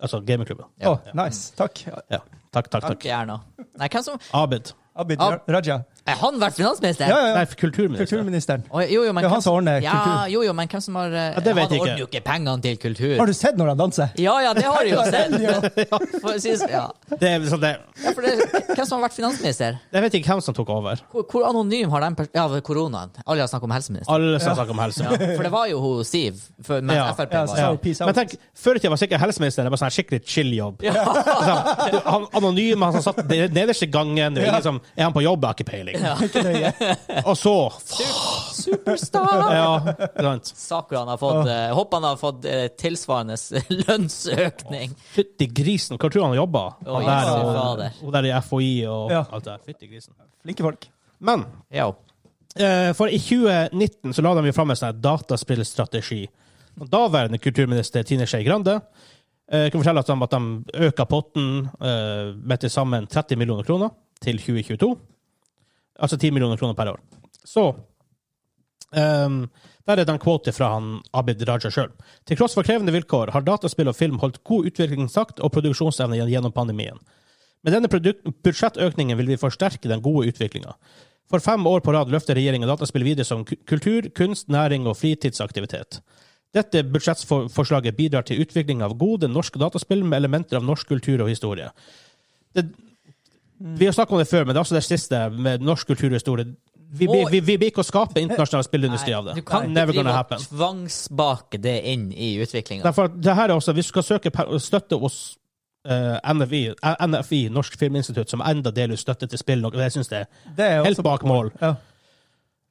Speaker 3: altså gamingklubben.
Speaker 1: Ja.
Speaker 2: Å, nice. Takk.
Speaker 3: Ja. Takk, takk,
Speaker 1: Takk,
Speaker 3: takk.
Speaker 1: Erna. Nei, hvem som
Speaker 3: Abid.
Speaker 2: Abid
Speaker 1: Ab-
Speaker 2: Raja.
Speaker 1: Er han vært finansminister?
Speaker 2: Ja, ja, ja.
Speaker 3: Nei, kulturminister.
Speaker 2: Kulturministeren.
Speaker 1: Oi, jo, jo, men
Speaker 2: Det er
Speaker 1: hvem
Speaker 2: han som ordner
Speaker 1: ja,
Speaker 2: kultur.
Speaker 1: jo, jo, men hvem som har eh,
Speaker 3: det vet
Speaker 1: Han
Speaker 3: jeg ikke.
Speaker 1: ordner jo ikke pengene til kultur.
Speaker 2: Har du sett når han danser?
Speaker 1: Ja, ja, det har jeg jo sett.
Speaker 2: Ja.
Speaker 1: For å si det- ja.
Speaker 3: Det er sånn det
Speaker 1: Ja, for det, hvem som har vært finansminister?
Speaker 3: Jeg vet ikke hvem som tok over.
Speaker 1: Hvor, hvor anonym har den pers- Ja, ved koronaen. Alle har snakket om helseminister.
Speaker 3: Alle som snakker om helse.
Speaker 1: Ja, for det var jo hun Siv, før- mens
Speaker 3: Ja.
Speaker 1: Frp
Speaker 2: Ja,
Speaker 1: var
Speaker 2: så-
Speaker 1: ja.
Speaker 2: Oh, peace out.
Speaker 3: Men tenk, Før i tida var sikkert helseministeren bare sånn her skikkelig chill-jobb. Sånn, du, han Anonym, han som satt de- nederst i gangen. det var Ingen som, er han på jobb? Jeg har ikke peiling.
Speaker 2: Ikke nøye.
Speaker 3: Og så faen,
Speaker 1: Superstar!
Speaker 3: Ja, ikke sant.
Speaker 1: Saker han har fått eh, Jeg Håper han har fått eh, tilsvarende lønnsøkning.
Speaker 3: Fytti grisen, hva tror du han jobba?
Speaker 1: Oi,
Speaker 3: Han der,
Speaker 1: Jesu
Speaker 3: og,
Speaker 1: fader.
Speaker 3: og der i FHI og
Speaker 2: Ja.
Speaker 3: alt det der. Fytti grisen.
Speaker 2: Flinke folk.
Speaker 3: Men
Speaker 1: Ja.
Speaker 3: eh, for i 2019 så la de jo fram en sånn her dataspillstrategi. Og Daværende kulturminister Tine Skei Grande eh, kan fortelle at de, at de øka potten eh, med til sammen 30 millioner kroner til 2022. Altså 10 millioner kroner per år. Så ehm, Der er det en quote fra han Abid Raja sjøl. Til tross for krevende vilkår har dataspill og film holdt god utviklingstakt og produksjonsevne gjennom pandemien. Med denne produkt- budsjettøkningen vil vi forsterke den gode utviklinga. For fem år på rad løfter regjeringa dataspill videre som ku- kultur, kunst, næring og fritidsaktivitet. Dette budsjettforslaget bidrar til utvikling av gode norske dataspill med elementer av norsk kultur og historie. Det, vi har snakket om det før, men det er også det siste med norsk kultur og historie. Vi, blir- vi, vi blir ikke å skape internasjonal spillindustri av det.
Speaker 1: Du kan ikke
Speaker 3: Never
Speaker 1: drive
Speaker 3: gonna
Speaker 1: og
Speaker 3: happen.
Speaker 1: tvangsbake det inn i utviklinga.
Speaker 3: Derfor, det her er også, vi skal søke per- støtte hos eh, NFI, eh, NFI, Norsk Filminstitutt, som enda deler ut støtte til spill, og jeg synes det er
Speaker 2: Det er jo
Speaker 3: helt
Speaker 2: også
Speaker 3: bak mål.
Speaker 2: Ja.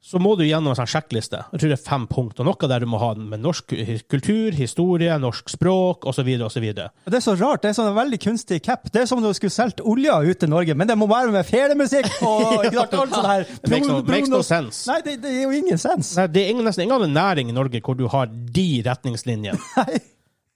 Speaker 3: Så må du gjennom en sånn sjekkliste. Jeg tror det er fem punkt, og noe der du må ha den med norsk kultur, historie, norsk språk, osv., osv.
Speaker 2: Og Det er så rart. Det er sånn en veldig kunstig cap. Det er som om du skulle solgt olja ut til Norge, men det må være med feriemusikk og ikke sant, alt sånn her.
Speaker 3: Makes no,
Speaker 2: Bron-
Speaker 3: makes no
Speaker 2: Bronos-
Speaker 3: sense.
Speaker 2: Nei, det, det er jo ingen sens.
Speaker 3: Nei, det er ingen, nesten ingen annen næring i Norge hvor du har de retningslinjene.
Speaker 2: Nei.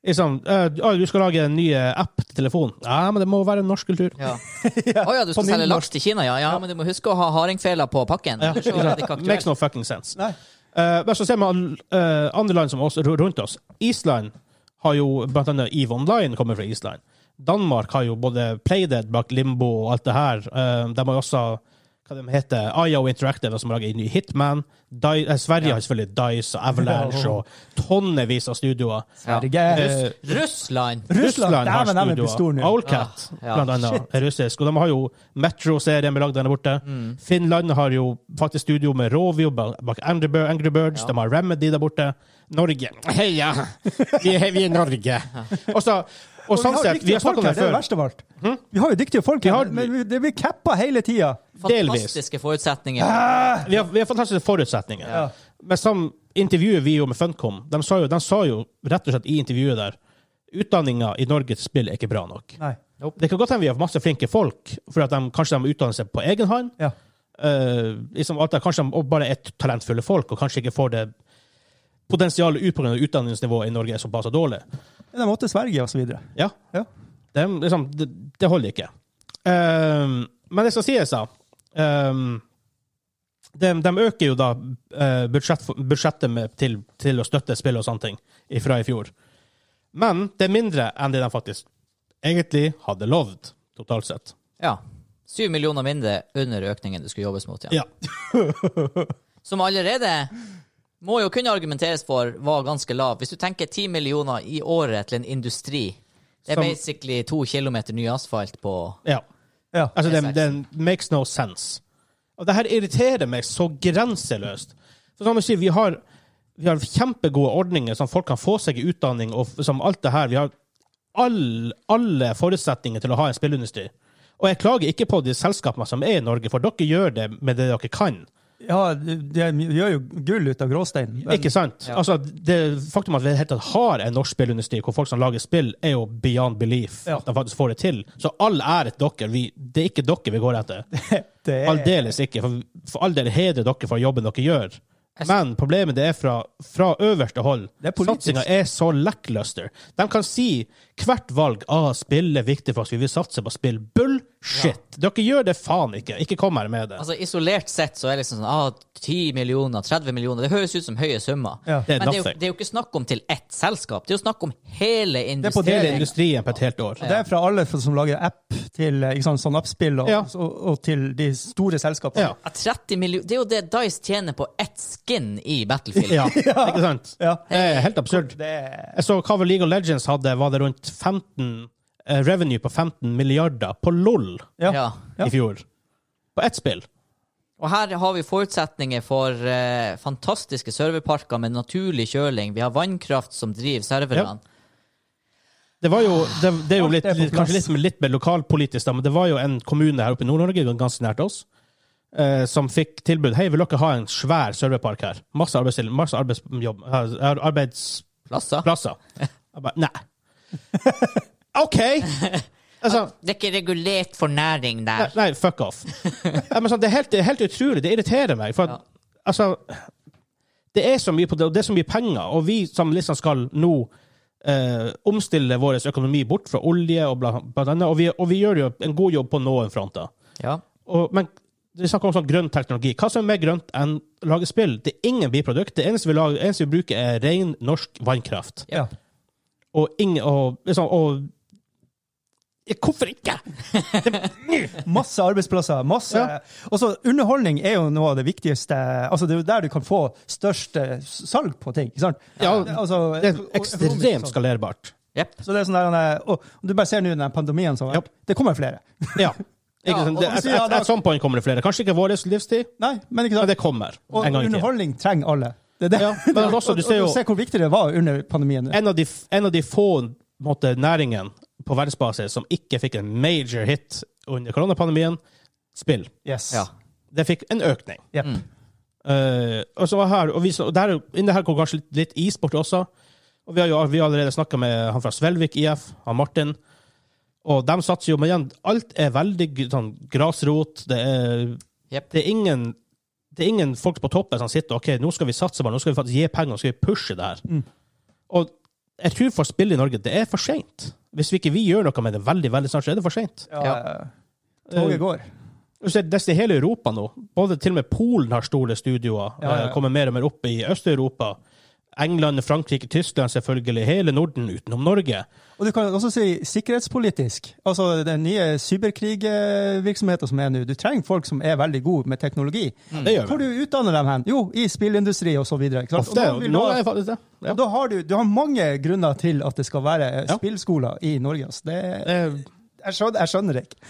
Speaker 3: Liksom, eh, ah, du skal lage en ny eh, app til telefon. Ja, men det må være norsk kultur.
Speaker 1: Ja. Å ja, du skal
Speaker 2: på
Speaker 1: selge
Speaker 2: nynorsk.
Speaker 1: laks til Kina, ja. ja. Men du må huske å ha hardingfela på pakken.
Speaker 3: Ja,
Speaker 1: Ellers så er det ikke
Speaker 3: Makes
Speaker 1: aktuelt.
Speaker 3: no fucking sense.
Speaker 2: Nei.
Speaker 3: Eh, men så ser man eh, andre land som oss, ru- rundt oss. Island har jo blant annet EVE Online kommer fra Island. Danmark har jo både Playdead bak Limbo og alt det her. Eh, de har jo også hva de heter, IO Interactive, som lager en ny Hitman. Di eh, Sverige har selvfølgelig Dice og Avalanche og tonnevis av studioer.
Speaker 1: Ja.
Speaker 2: Herregud.
Speaker 3: Eh,
Speaker 1: Russland!
Speaker 2: Russland,
Speaker 3: har
Speaker 2: dæven, de er blitt store
Speaker 3: studioer.
Speaker 2: nå.
Speaker 3: Owlcat,
Speaker 1: Ah, ja.
Speaker 3: blant annet, er russisk. Og de har jo Metro-serien belagd der borte.
Speaker 1: Mm.
Speaker 3: Finland har jo faktisk studio med Rovio bak bak Angry Bir- Angry Birds.
Speaker 1: Ja.
Speaker 3: De har Remedy der borte. Norge. Heia! Vi er, vi er Norge. Og så og
Speaker 2: Og
Speaker 3: sånn sett, vi har snakket om det
Speaker 2: Det er det
Speaker 3: før.
Speaker 2: verste av alt. Vi har jo dyktige folk
Speaker 3: har-
Speaker 2: her, men vi- det blir cappa hele tida.
Speaker 3: Delvis.
Speaker 1: Fantastiske forutsetninger.
Speaker 3: Vi har, vi har fantastiske forutsetninger.
Speaker 2: Ja.
Speaker 3: Men som intervjuet vi jo med Funcom, de sa jo, de sa jo rett og slett i intervjuet der Utdanninga i Norge til spill er ikke bra nok.
Speaker 2: Nei.
Speaker 3: Det kan godt hende vi har masse flinke folk, for at de, kanskje de utdanner seg på egen hånd.
Speaker 2: Ja.
Speaker 3: Eh, liksom alt det, kanskje de bare er talentfulle folk, og kanskje ikke får det potensialet ut pga. utdanningsnivået i Norge er såpass dårlig.
Speaker 2: Men de måtte Sverige og så videre.
Speaker 3: Ja.
Speaker 2: Ja.
Speaker 3: Det, er liksom, det, det holder ikke. Ehm, men det skal sies, da ehm, de, de øker jo da eh, budsjett, budsjettet med, til, til å støtte spill og sånne ting fra i fjor. Men det er mindre enn det de faktisk egentlig hadde lovd, totalt sett.
Speaker 1: Ja. Syv millioner mindre under økningen det skulle jobbes mot. Ja.
Speaker 3: Ja.
Speaker 1: Som allerede må jo kunne argumenteres for var ganske lav. Hvis du tenker ti millioner i året til en industri, det er
Speaker 3: Som-
Speaker 1: basically to kilometer ny asfalt på
Speaker 3: ja.
Speaker 2: Ja.
Speaker 3: Altså,
Speaker 1: Det
Speaker 3: det,
Speaker 1: er
Speaker 3: det makes no sense. Og det her irriterer meg så grenseløst. For som jeg sier, vi har, vi har kjempegode ordninger som folk kan få seg i utdanning, og f- som alt det her. Vi har all, alle forutsetninger til å ha en spillindustri. Og jeg klager ikke på de selskapene som er i Norge, for dere gjør det med det dere kan.
Speaker 2: Ja, de gjør jo gull ut av gråstein. men-
Speaker 3: Ikke sant?
Speaker 1: Ja.
Speaker 3: Altså, det faktum at vi helt tatt har en norsk spillindustri hvor folk som lager spill, er jo beyond belief.
Speaker 2: Ja.
Speaker 3: At de faktisk får det til. Så all ære til dere. Vi, det er ikke dere vi går etter.
Speaker 2: det er,
Speaker 3: Aldeles ikke. For, for all del hedre dere for jobben dere gjør. Men problemet det er fra, fra øverste hold.
Speaker 2: Det er politisk.
Speaker 3: Satsinga er så lackluster. De kan si hvert valg ah, spill er viktig for oss, vi vil satse på spill. Bullshit! Dere gjør det faen ikke. Ikke kom her med det.
Speaker 1: Altså Isolert sett så er det liksom sånn ah, 10 millioner, 30 millioner. Det høres ut som høye summer.
Speaker 2: Ja.
Speaker 3: Det er
Speaker 1: Men det er, jo,
Speaker 3: nothing.
Speaker 1: det er jo ikke snakk om til ett selskap. Det er jo snakk om hele
Speaker 2: er på
Speaker 1: industrien.
Speaker 3: Hele industrien på et helt år.
Speaker 2: det er fra alle som lager app, til eh, ikke sant, sånn appspill, og,
Speaker 3: Ja.
Speaker 2: og, og til de store selskapene.
Speaker 3: Ja.
Speaker 1: Ja, 30 millioner Det er jo det Dice tjener på ett skin i Battlefield.
Speaker 3: Ja, ikke sant?
Speaker 2: Ja.
Speaker 3: Det er helt absurd.
Speaker 2: Det er,
Speaker 3: Jeg så hva vel League of Legends hadde, var det rundt 15 eh, revenue på 15 milliarder på LOL
Speaker 2: ja.
Speaker 1: Ja.
Speaker 2: Ja.
Speaker 3: i fjor. På ett spill.
Speaker 1: Og her har vi forutsetninger for eh, fantastiske serverparker med naturlig kjøling. Vi har vannkraft som driver serverne.
Speaker 3: Det var jo, det, det er jo
Speaker 2: Ah, Alt
Speaker 3: litt,
Speaker 2: er på
Speaker 3: litt,
Speaker 2: plass.
Speaker 3: kanskje litt, litt mer lokalpolitisk, da, men det var jo en kommune her oppe i Nord-Norge, ganske nært oss, eh, som fikk tilbud Hei, vil dere ha en svær serverpark her? Masse, arbeidsstill- masse arbeidsjobb, eh, arbeidsplasser.
Speaker 1: Plasser.
Speaker 3: Jeg bare, Nei. OK! Altså,
Speaker 1: Det er ikke regulert for næring
Speaker 3: Nei,
Speaker 1: der.
Speaker 3: nei, fuck off. Ja, men sånn, det, er helt, det er helt utrolig. Det irriterer meg. For at,
Speaker 1: Ja.
Speaker 3: altså, det er så mye på det, og det er så mye penger, og vi som liksom skal nå eh, omstille vår økonomi bort fra olje og bla, blant annet, og vi, og vi gjør jo en god jobb på noen fronter.
Speaker 1: Ja.
Speaker 3: Og, men vi snakker om sånn grønn teknologi. Hva som er mer grønt enn å lage spill? Det er ingen biprodukt. Det eneste vi, lager, eneste vi bruker, er ren norsk vannkraft.
Speaker 2: Ja.
Speaker 3: Og ingen Og, liksom, og Hvorfor ikke?!
Speaker 2: Masse arbeidsplasser. masse...
Speaker 3: Ja.
Speaker 2: Og så underholdning er jo noe av det viktigste altså Det er jo der du kan få størst eh, salg på ting. ikke sant?
Speaker 3: Ja,
Speaker 2: altså,
Speaker 3: Det er
Speaker 2: og- og-
Speaker 3: ekstremt
Speaker 2: sånn.
Speaker 3: skalerbart.
Speaker 1: Jepp.
Speaker 2: Så det er sånn der, han er- å, Du bare ser nå den pandemien som har vært. Det kommer flere.
Speaker 3: Ja. Ikke
Speaker 1: Ja,
Speaker 3: sant?
Speaker 2: og
Speaker 3: Det,
Speaker 2: så
Speaker 3: at,
Speaker 2: sier han
Speaker 3: at,
Speaker 2: da-
Speaker 3: at sånn point kommer det flere. Kanskje ikke vår livstid,
Speaker 2: Nei, men ikke
Speaker 3: men
Speaker 2: sant?
Speaker 3: det kommer.
Speaker 2: Og
Speaker 3: En gang i tiden.
Speaker 2: underholdning trenger alle. Det er det.
Speaker 3: Ja, men også, du
Speaker 2: Og-
Speaker 3: ser
Speaker 2: og
Speaker 3: jo
Speaker 2: du ser hvor viktig det var under pandemien.
Speaker 3: en av de, f- en av de få på en måte, næringene på verdensbasis som ikke fikk en major hit under koronapandemien, spill.
Speaker 2: Yes.
Speaker 1: Ja.
Speaker 3: Det fikk en økning.
Speaker 2: Jepp.
Speaker 1: Mm.
Speaker 3: Eh, og så var her, og vi, så- og der, inne her går kanskje litt, litt e-sport også. Og vi har jo vi har allerede snakka med han fra Svelvik IF, han Martin. Og de satser jo, men igjen, alt er veldig g- sånn, grasrot. Det er,
Speaker 1: Jepp.
Speaker 3: det, er ingen, det er ingen folk på toppen som sitter ok, nå skal vi satse bare, nå skal vi faktisk gi penger, nå skal vi pushe det her.
Speaker 2: Mm.
Speaker 3: Og jeg tror for spill i Norge, det er for seint. Hvis vi ikke vi gjør noe med det veldig veldig snart, så er det for seint.
Speaker 2: Ja,
Speaker 1: Ja.
Speaker 2: Toget går.
Speaker 3: Du ser nesten i hele Europa nå. Både til og med Polen har store studioer.
Speaker 2: Ja, ja, ja.
Speaker 3: eh, Kommer mer og mer opp i Øst-Europa. England, Frankrike, Tyskland selvfølgelig. Hele Norden utenom Norge.
Speaker 2: Og du kan også si sikkerhetspolitisk. Altså Den nye cyberkrigvirksomheten som er nå. Du trenger folk som er veldig gode med teknologi.
Speaker 3: Mm. Det gjør
Speaker 2: Hvor
Speaker 3: vi.
Speaker 2: du utdanner dem hen? Jo, i spillindustri og så videre. Ikke sant?
Speaker 3: Ofte.
Speaker 2: Og da vil du
Speaker 3: Nå
Speaker 2: ha-
Speaker 3: er jeg faktisk det. Ja.
Speaker 2: og da har du, du har mange grunner til at det skal være
Speaker 3: Ja.
Speaker 2: spillskoler i Norge. Altså. Det,
Speaker 3: Eh,
Speaker 2: jeg, skjønner, jeg skjønner det ikke.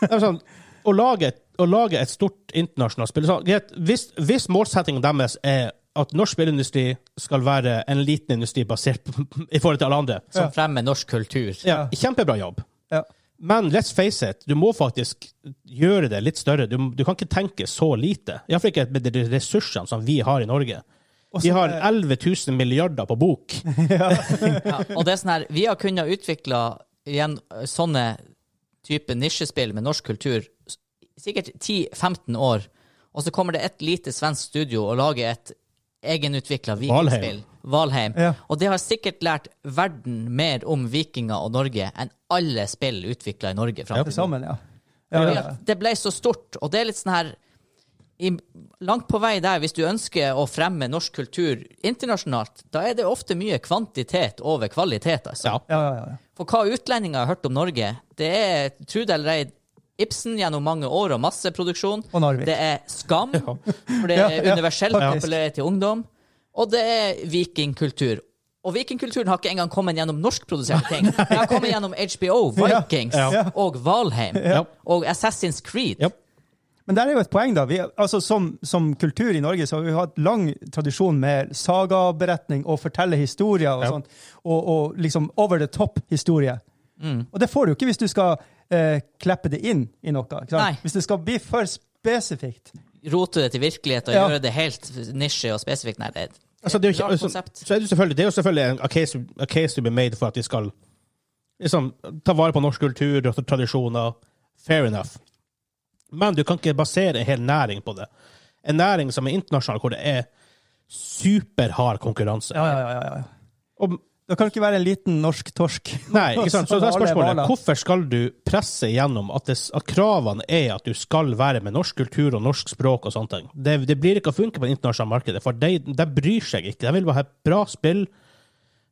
Speaker 3: Det er sånn, å lage, et- å lage et stort internasjonalt spill så, greit, hvis, hvis målsettingen deres er at norsk spillindustri skal være en liten industri basert på, i forhold til alle andre,
Speaker 1: Som fremmer norsk kultur.
Speaker 3: ja, kjempebra jobb.
Speaker 2: Ja.
Speaker 3: Men let's face it, du må faktisk gjøre det litt større. Du, du kan ikke tenke så lite. Iallfall ikke med de ressursene som vi har i Norge.
Speaker 2: Og så-
Speaker 3: Vi har 11 000 milliarder på bok.
Speaker 1: Ja, og det er sånn her, vi har kunnet utvikle igjen eh, sånne type nisjespill med norsk kultur s- sikkert 10-15 år, og så kommer det et lite svensk studio og lager et egenutvikla vikingspill. Valheim.
Speaker 2: Ja.
Speaker 1: Og det har sikkert lært verden mer om vikinger og Norge enn alle spill utvikla i Norge. Fram.
Speaker 2: Til sammen, ja.
Speaker 1: til
Speaker 2: ja,
Speaker 1: nå.
Speaker 2: ja.
Speaker 1: Det ble så stort, og det er litt sånn her i, Langt på vei der, hvis du ønsker å fremme norsk kultur internasjonalt, da er det ofte mye kvantitet over kvalitet, altså.
Speaker 3: Ja.
Speaker 2: ja, ja, ja.
Speaker 1: For hva utlendinger har hørt om Norge, det er tro det eller ei Ibsen gjennom mange år og masseproduksjon.
Speaker 2: Og Narvik.
Speaker 1: Det er Skam, for det
Speaker 2: Ja,
Speaker 1: er
Speaker 2: ja,
Speaker 1: universell
Speaker 2: faktisk.
Speaker 1: populært til ungdom. Og det er vikingkultur. Og vikingkulturen har ikke engang kommet gjennom norskproduserte ting. Den har kommet gjennom HBO, Vikings
Speaker 3: Ja, ja.
Speaker 1: og Valheim.
Speaker 3: Ja.
Speaker 1: Og Assassin's Creed.
Speaker 3: Ja.
Speaker 2: Men der er jo et poeng, da. Vi, altså, som, som kultur i Norge så har vi hatt lang tradisjon med sagaberetning og fortelle historier og
Speaker 3: Ja.
Speaker 2: sånt. Og, og liksom over the top-historie. Og det får du jo ikke hvis du skal eh, kleppe det inn i noe. Ikke sant?
Speaker 1: Nei.
Speaker 2: Hvis det skal bli for spesifikt.
Speaker 1: rote det til virkelighet og
Speaker 2: Ja.
Speaker 1: gjøre det helt nisje og spesifikt. Nei, det er
Speaker 3: Altså, det er jo
Speaker 1: Rart
Speaker 3: ikke, så,
Speaker 1: konsept.
Speaker 3: så er det, jo selvfølgelig, det er jo selvfølgelig en a case, a case to be made for at vi skal liksom, ta vare på norsk kultur og tradisjoner. Fair enough. Men du kan ikke basere en hel næring på det. En næring som er internasjonal, hvor det er superhard konkurranse.
Speaker 2: Ja, ja, ja, ja, ja.
Speaker 3: Og,
Speaker 2: Det kan ikke være en liten norsk torsk.
Speaker 3: nei, ikke sant? Så da er
Speaker 2: Alle er
Speaker 3: spørsmålet
Speaker 2: valer.
Speaker 3: hvorfor skal du presse gjennom at, det, at kravene er at du skal være med norsk kultur og norsk språk og sånne ting? Det, det blir ikke å funke på det internasjonale markedet, for de, de bryr seg ikke. De vil bare ha et bra spill.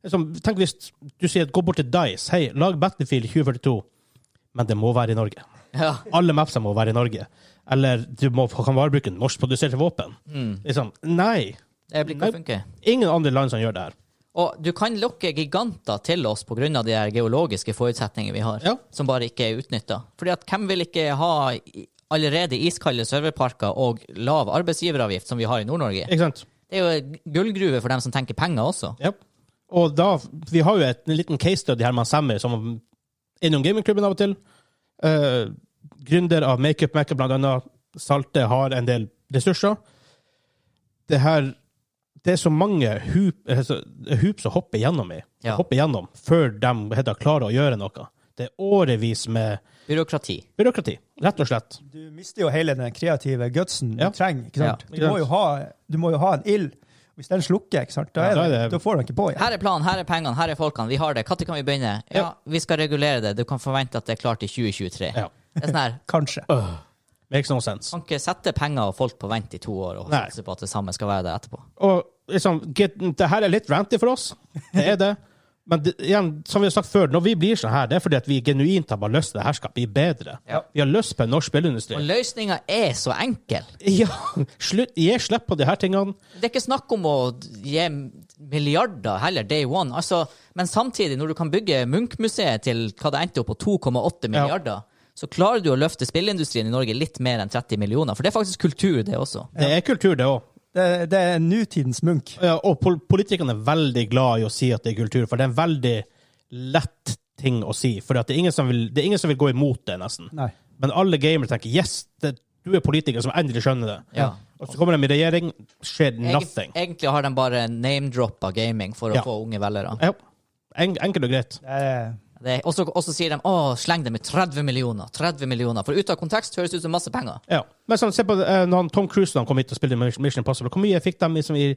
Speaker 3: Liksom, tenk hvis du sier gå bort til Dice, hei, lag Battlefield 2042, men det må være i Norge.
Speaker 1: ja.
Speaker 3: Alle mapsene må være i Norge. Eller du må, kan bare bruke norskproduserte våpen. Liksom, nei.
Speaker 1: Mm. Det blir ikke å
Speaker 3: Nei.
Speaker 1: funke.
Speaker 3: Ingen andre land som gjør det her.
Speaker 1: Og du kan lokke giganter til oss pga. de her geologiske forutsetningene vi har,
Speaker 3: Ja.
Speaker 1: som bare ikke er utnytta. Fordi at hvem vil ikke ha i- allerede iskalde serverparker og lav arbeidsgiveravgift, som vi har i Nord-Norge?
Speaker 3: Ikke sant?
Speaker 1: Det er jo en gullgruve for dem som tenker penger også.
Speaker 3: Ja. Og da, vi har jo et, en liten case study her med Sammy, som er innom gamingklubben av og til. Eh, gründer av makeup-merket, blant annet. Salte har en del ressurser. Det her Det er så mange hup, altså, hoops å hoppe gjennom i.
Speaker 1: Ja.
Speaker 3: Hoppe gjennom før de heter, klarer å gjøre noe. Det er årevis med
Speaker 1: Byråkrati.
Speaker 3: byråkrati, rett og slett.
Speaker 2: Du mister jo hele den kreative gutsen
Speaker 3: Ja.
Speaker 2: du trenger. ikke sant?
Speaker 3: Ja,
Speaker 2: Du, må jo ha, du må jo ha en ild. Hvis den slukker, ikke sant? Da,
Speaker 3: Ja,
Speaker 2: er
Speaker 3: da er
Speaker 2: det,
Speaker 3: det-
Speaker 2: da får du ikke på igjen.
Speaker 1: Her er planen, her er pengene, her er folkene. Vi har det. Når kan vi begynne? Ja,
Speaker 3: Ja.
Speaker 1: vi skal regulere det. Du kan forvente at det er klart i 2023.
Speaker 3: Ja.
Speaker 1: Det er sånn her,
Speaker 2: Kanskje.
Speaker 3: Makes no sense.
Speaker 1: kan ikke sette penger og folk på vent i to år og
Speaker 3: Nei.
Speaker 1: satse på at det samme skal være der etterpå.
Speaker 3: Og liksom, get, det her er litt ranty for oss. Det er det. Men det, igjen, som vi har sagt før, når vi blir sånn her, det er fordi at vi genuint har bare lyst til det her skal bli bedre.
Speaker 1: Ja.
Speaker 3: Vi har lyst på en
Speaker 1: Og
Speaker 3: norsk spillindustri.
Speaker 1: løsninga er så enkel.
Speaker 3: Ja, slutt, Gi slipp på de her tingene.
Speaker 1: Det er ikke snakk om å gi milliarder heller, day one. Altså, men samtidig, når du kan bygge Munch-museet til hva det endte opp på 2,8 milliarder, så klarer du å løfte spillindustrien i Norge litt mer enn 30 millioner. For det er faktisk kultur, det også.
Speaker 3: Det er kultur, det òg.
Speaker 2: Det, det er nutidens Munch.
Speaker 3: Ja, og pol politikerne er veldig glad i å si at det er kultur, for det er en veldig lett ting å si. For det, er ingen som vil- det er ingen som vil gå imot det, nesten.
Speaker 2: Nei.
Speaker 3: Men alle gamere tenker yes, det, du er politiker som endelig skjønner det.
Speaker 1: Ja.
Speaker 3: Og så kommer de i regjering, skjer nothing.
Speaker 1: Egen- Egentlig har de bare name-droppa gaming for å
Speaker 3: Ja.
Speaker 1: få unge velgere.
Speaker 3: Ja. En, enkelt og greit.
Speaker 2: Det er,
Speaker 1: Det er- også- Og så sier de å, sleng det med 30 millioner. 30 millioner. For ut av kontekst høres det ut som masse penger.
Speaker 3: Ja. Men sånn, se på eh, når han, Tom Cruise da han kom hit og spilte Mission Impossible. Hvor mye fikk de liksom, i,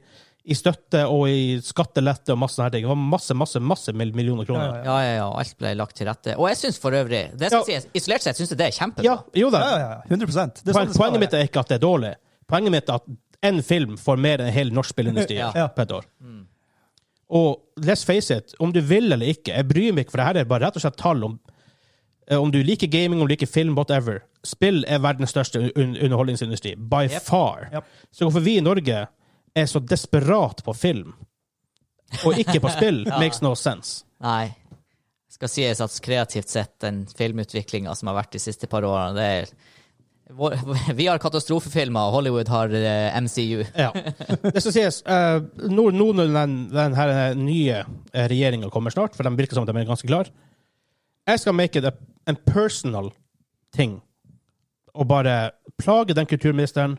Speaker 3: i støtte og i skattelette og masse sånne her ting? Det var masse, masse, masse mill- millioner kroner.
Speaker 2: Ja,
Speaker 1: Ja, ja, ja. og Alt ble lagt til rette. Og jeg syns for øvrig det skal
Speaker 3: Ja.
Speaker 1: sies, Isolert sett syns jeg det er kjempebra.
Speaker 3: Ja, jo da.
Speaker 2: ja, ja, ja. 100 det er sånn
Speaker 3: Poen,
Speaker 2: det skal
Speaker 3: poenget mitt
Speaker 2: være.
Speaker 3: er ikke at det er dårlig. Poenget mitt er at én film får mer enn en hel norsk spillindustri
Speaker 1: Ja.
Speaker 2: Ja.
Speaker 3: på et år. Og let's face it, om du vil eller ikke, jeg bryr meg ikke, for det her er bare rett og slett tall om eh, om du liker gaming, om du liker film, whatever. Spill er verdens største un underholdningsindustri. By
Speaker 1: Yep.
Speaker 3: far.
Speaker 2: Yep.
Speaker 3: Så hvorfor vi i Norge er så desperat på film, og ikke på spill, makes no sense.
Speaker 1: Nei. Skal sies at kreativt sett, den filmutviklinga som har vært de siste par årene, det er vår, Vi har katastrofefilmer, og Hollywood har eh, MCU.
Speaker 3: Ja. Det skal sies, eh, nå nå når den, den her eh, nye regjeringa kommer snart, for de virker som de er ganske klar Jeg skal make it a, en personal ting og bare plage den kulturministeren.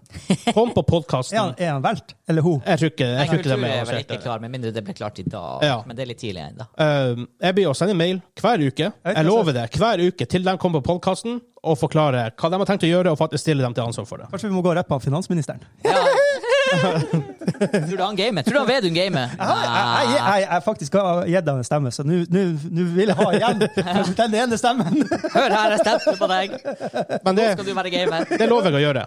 Speaker 3: Kom på podkasten.
Speaker 2: Er han, er han velt? Eller hun?
Speaker 3: Jeg tror ikke, jeg tror ikke de
Speaker 1: Kultur
Speaker 3: er
Speaker 1: er vel
Speaker 3: avansert.
Speaker 1: ikke klar, med mindre det ble klart i dag.
Speaker 3: Ja.
Speaker 1: Men det er litt tidlig ennå.
Speaker 3: Eh, jeg blir å sende mail hver uke.
Speaker 2: vet
Speaker 3: Jeg
Speaker 2: ikke,
Speaker 3: lover det. Hver uke til de kommer på podkasten og forklarer hva de har tenkt å gjøre, og faktisk stille dem til ansvar for det.
Speaker 2: Kanskje vi må gå og rappe av finansministeren?
Speaker 1: Ja. Tror du han gamer? Tror du han Vedum gamer?
Speaker 2: Ah, Jeg, jeg, jeg, jeg faktisk har gitt deg en stemme, så nå nå- nå vil jeg ha igjen Kanskje den ene stemmen.
Speaker 1: Hør her, jeg stemte på deg.
Speaker 3: Men det,
Speaker 1: Nå skal du være gamer.
Speaker 3: det lover jeg å gjøre.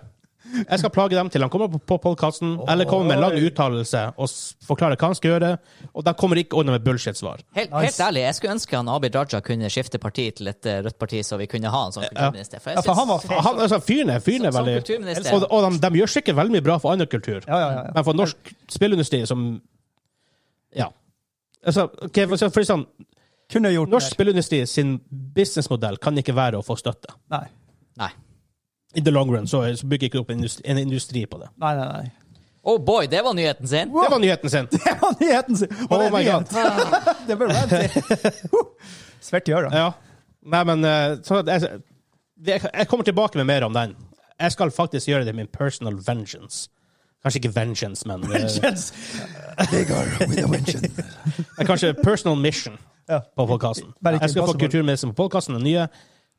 Speaker 3: Jeg skal plage dem til han kommer på- på podkasten, eller kommer med en lang uttalelse og s- forklarer hva han skal gjøre, og de kommer ikke unna med bullshit-svar.
Speaker 1: Helt,
Speaker 2: Nice.
Speaker 1: helt ærlig, jeg skulle ønske han Abid Raja kunne skifte parti til et eh, rødt parti, så vi kunne ha han som kulturminister. For jeg
Speaker 2: Ja, for han var
Speaker 1: synes-
Speaker 2: faen-
Speaker 3: Han, altså, fyren er, fyren er
Speaker 1: Som- som
Speaker 3: veldig
Speaker 1: kulturminister.
Speaker 3: Og, og de, de gjør sikkert veldig mye bra for annen kultur,
Speaker 2: Ja, ja, ja, ja.
Speaker 3: men for norsk spillindustri som Ja. Altså, ok, for, for sånn,
Speaker 2: Kunne gjort
Speaker 3: norsk
Speaker 2: mer.
Speaker 3: spillindustri sin businessmodell kan ikke være å få støtte.
Speaker 2: Nei.
Speaker 1: Nei.
Speaker 3: In the long run så, så bygger ikke opp en industri, en industri på det.
Speaker 2: Nei, nei, nei.
Speaker 1: Oh boy, det var nyheten sin.
Speaker 3: Det var nyheten sin.
Speaker 2: Det var nyheten sin! Og
Speaker 3: Oh
Speaker 2: det er
Speaker 3: my
Speaker 2: nyhet. det ble ranty. Svett i øra.
Speaker 3: Ja. Nei, men eh, sånn at jeg, jeg kommer tilbake med mer om den. Jeg skal faktisk gjøre det min personal vengeance. Kanskje ikke vengeance, men eh, eh, Kanskje personal mission
Speaker 2: Ja.
Speaker 3: på podkasten.
Speaker 2: Bare ikke
Speaker 3: Jeg skal få
Speaker 2: impossible.
Speaker 3: kulturministeren på podkasten, den nye.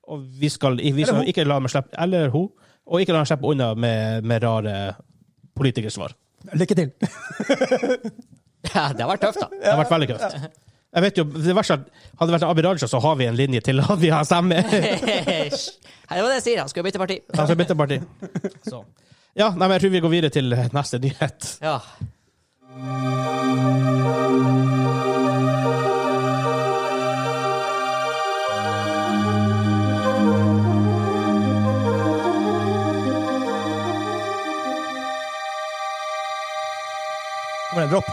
Speaker 3: Og vi skal, vi
Speaker 2: Eller hun.
Speaker 3: skal ikke la meg slippe Eller hun. Og ikke la meg slippe unna med, med rare politikersvar.
Speaker 2: Lykke til.
Speaker 1: Ja, det har vært tøft, da.
Speaker 3: Det har vært veldig krøft. Jeg vet jo, det verste er at Hadde det vært Abid Raja, så har vi en linje til at vi har stemme.
Speaker 1: Nei, det var det jeg sier. Han skulle bytte parti.
Speaker 3: Altså, bytte parti. Så. Ja, nei, men jeg tror vi går videre til neste nyhet.
Speaker 1: Ja.
Speaker 2: Kommer det en dropp?